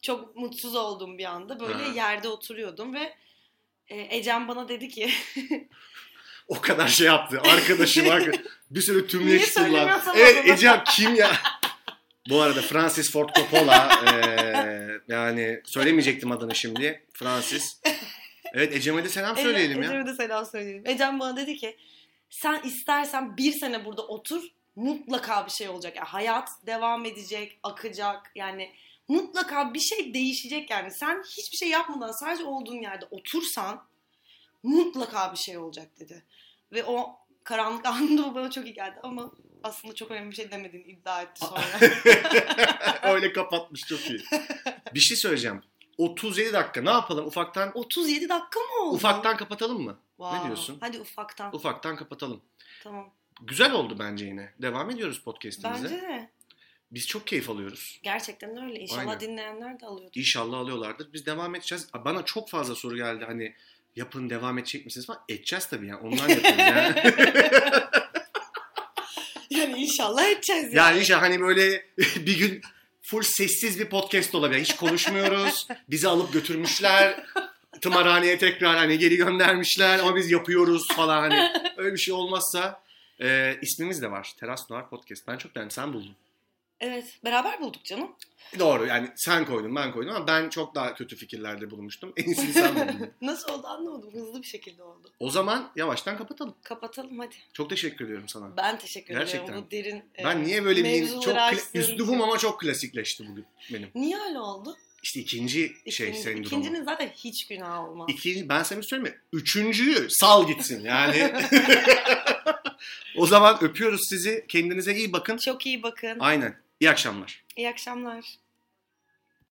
Speaker 2: çok mutsuz oldum bir anda. Böyle
Speaker 1: Ha.
Speaker 2: yerde oturuyordum ve e, Ecem bana dedi ki
Speaker 1: O kadar şey yaptı. Arkadaşım arkadaş. Bir sürü tümleş
Speaker 2: Niye
Speaker 1: kullandı.
Speaker 2: söylemiyorsun
Speaker 1: Evet
Speaker 2: bana?
Speaker 1: Ecem kim ya? Bu arada Francis Ford Coppola eee, yani söylemeyecektim adını şimdi. Francis. Evet Ecem'e de selam
Speaker 2: Ecem-
Speaker 1: söyleyelim ya.
Speaker 2: Ecem'e de selam söyleyelim. Ecem bana dedi ki sen istersen bir sene burada otur mutlaka bir şey olacak. Yani hayat devam edecek, akacak yani mutlaka bir şey değişecek yani. Sen hiçbir şey yapmadan sadece olduğun yerde otursan mutlaka bir şey olacak dedi. Ve o karanlık anında bu bana çok iyi geldi ama aslında çok önemli bir şey demediğini iddia etti sonra.
Speaker 1: Öyle kapatmış çok iyi. Bir şey söyleyeceğim. 37 dakika ne yapalım ufaktan
Speaker 2: 37 dakika mı oldu?
Speaker 1: ufaktan kapatalım mı?
Speaker 2: Wow.
Speaker 1: diyorsun?
Speaker 2: Hadi ufaktan.
Speaker 1: Ufaktan kapatalım.
Speaker 2: tamam.
Speaker 1: Güzel oldu bence yine. Devam ediyoruz podcast'imize.
Speaker 2: Bence de.
Speaker 1: Biz çok keyif alıyoruz.
Speaker 2: Gerçekten öyle. İnşallah
Speaker 1: Aynen.
Speaker 2: dinleyenler de alıyordur.
Speaker 1: İnşallah alıyorlardır. Biz devam edeceğiz. Bana çok fazla soru geldi hani yapın devam edecek misiniz falan. Edeceğiz tabii yani. Ondan yapıyoruz yani.
Speaker 2: Yani inşallah edeceğiz yani.
Speaker 1: yani işte hani böyle bir gün full sessiz bir podcast olabilir. Hiç konuşmuyoruz. Bizi alıp götürmüşler. Tımarhaneye tekrar hani geri göndermişler ama biz yapıyoruz falan hani. Öyle bir şey olmazsa e, ismimiz de var. Teras Noir Podcast. Ben çok beğendim. Sen buldun.
Speaker 2: Evet. Beraber bulduk canım.
Speaker 1: Doğru yani sen koydun ben koydum ama ben çok daha kötü fikirlerde bulunmuştum. En iyisini sen buldun.
Speaker 2: Nasıl oldu anlamadım. Hızlı bir şekilde oldu.
Speaker 1: O zaman yavaştan kapatalım.
Speaker 2: Kapatalım hadi.
Speaker 1: Çok teşekkür ediyorum sana.
Speaker 2: Ben teşekkür
Speaker 1: Gerçekten.
Speaker 2: ediyorum. Bu derin e,
Speaker 1: Ben niye böyle bir
Speaker 2: mevzulara
Speaker 1: çok kla-
Speaker 2: açtığın
Speaker 1: üslubum
Speaker 2: için.
Speaker 1: ama çok klasikleşti bugün benim.
Speaker 2: Niye öyle oldu?
Speaker 1: İşte ikinci şey
Speaker 2: İkinci-
Speaker 1: sendromu.
Speaker 2: İkincinin zaten hiç günahı olmaz.
Speaker 1: İkinci, ben sana bir şey söyleyeyim mi? Üçüncüyü sal gitsin yani. o zaman öpüyoruz sizi. Kendinize iyi bakın.
Speaker 2: Çok iyi bakın.
Speaker 1: Aynen. İyi akşamlar.
Speaker 2: İyi akşamlar.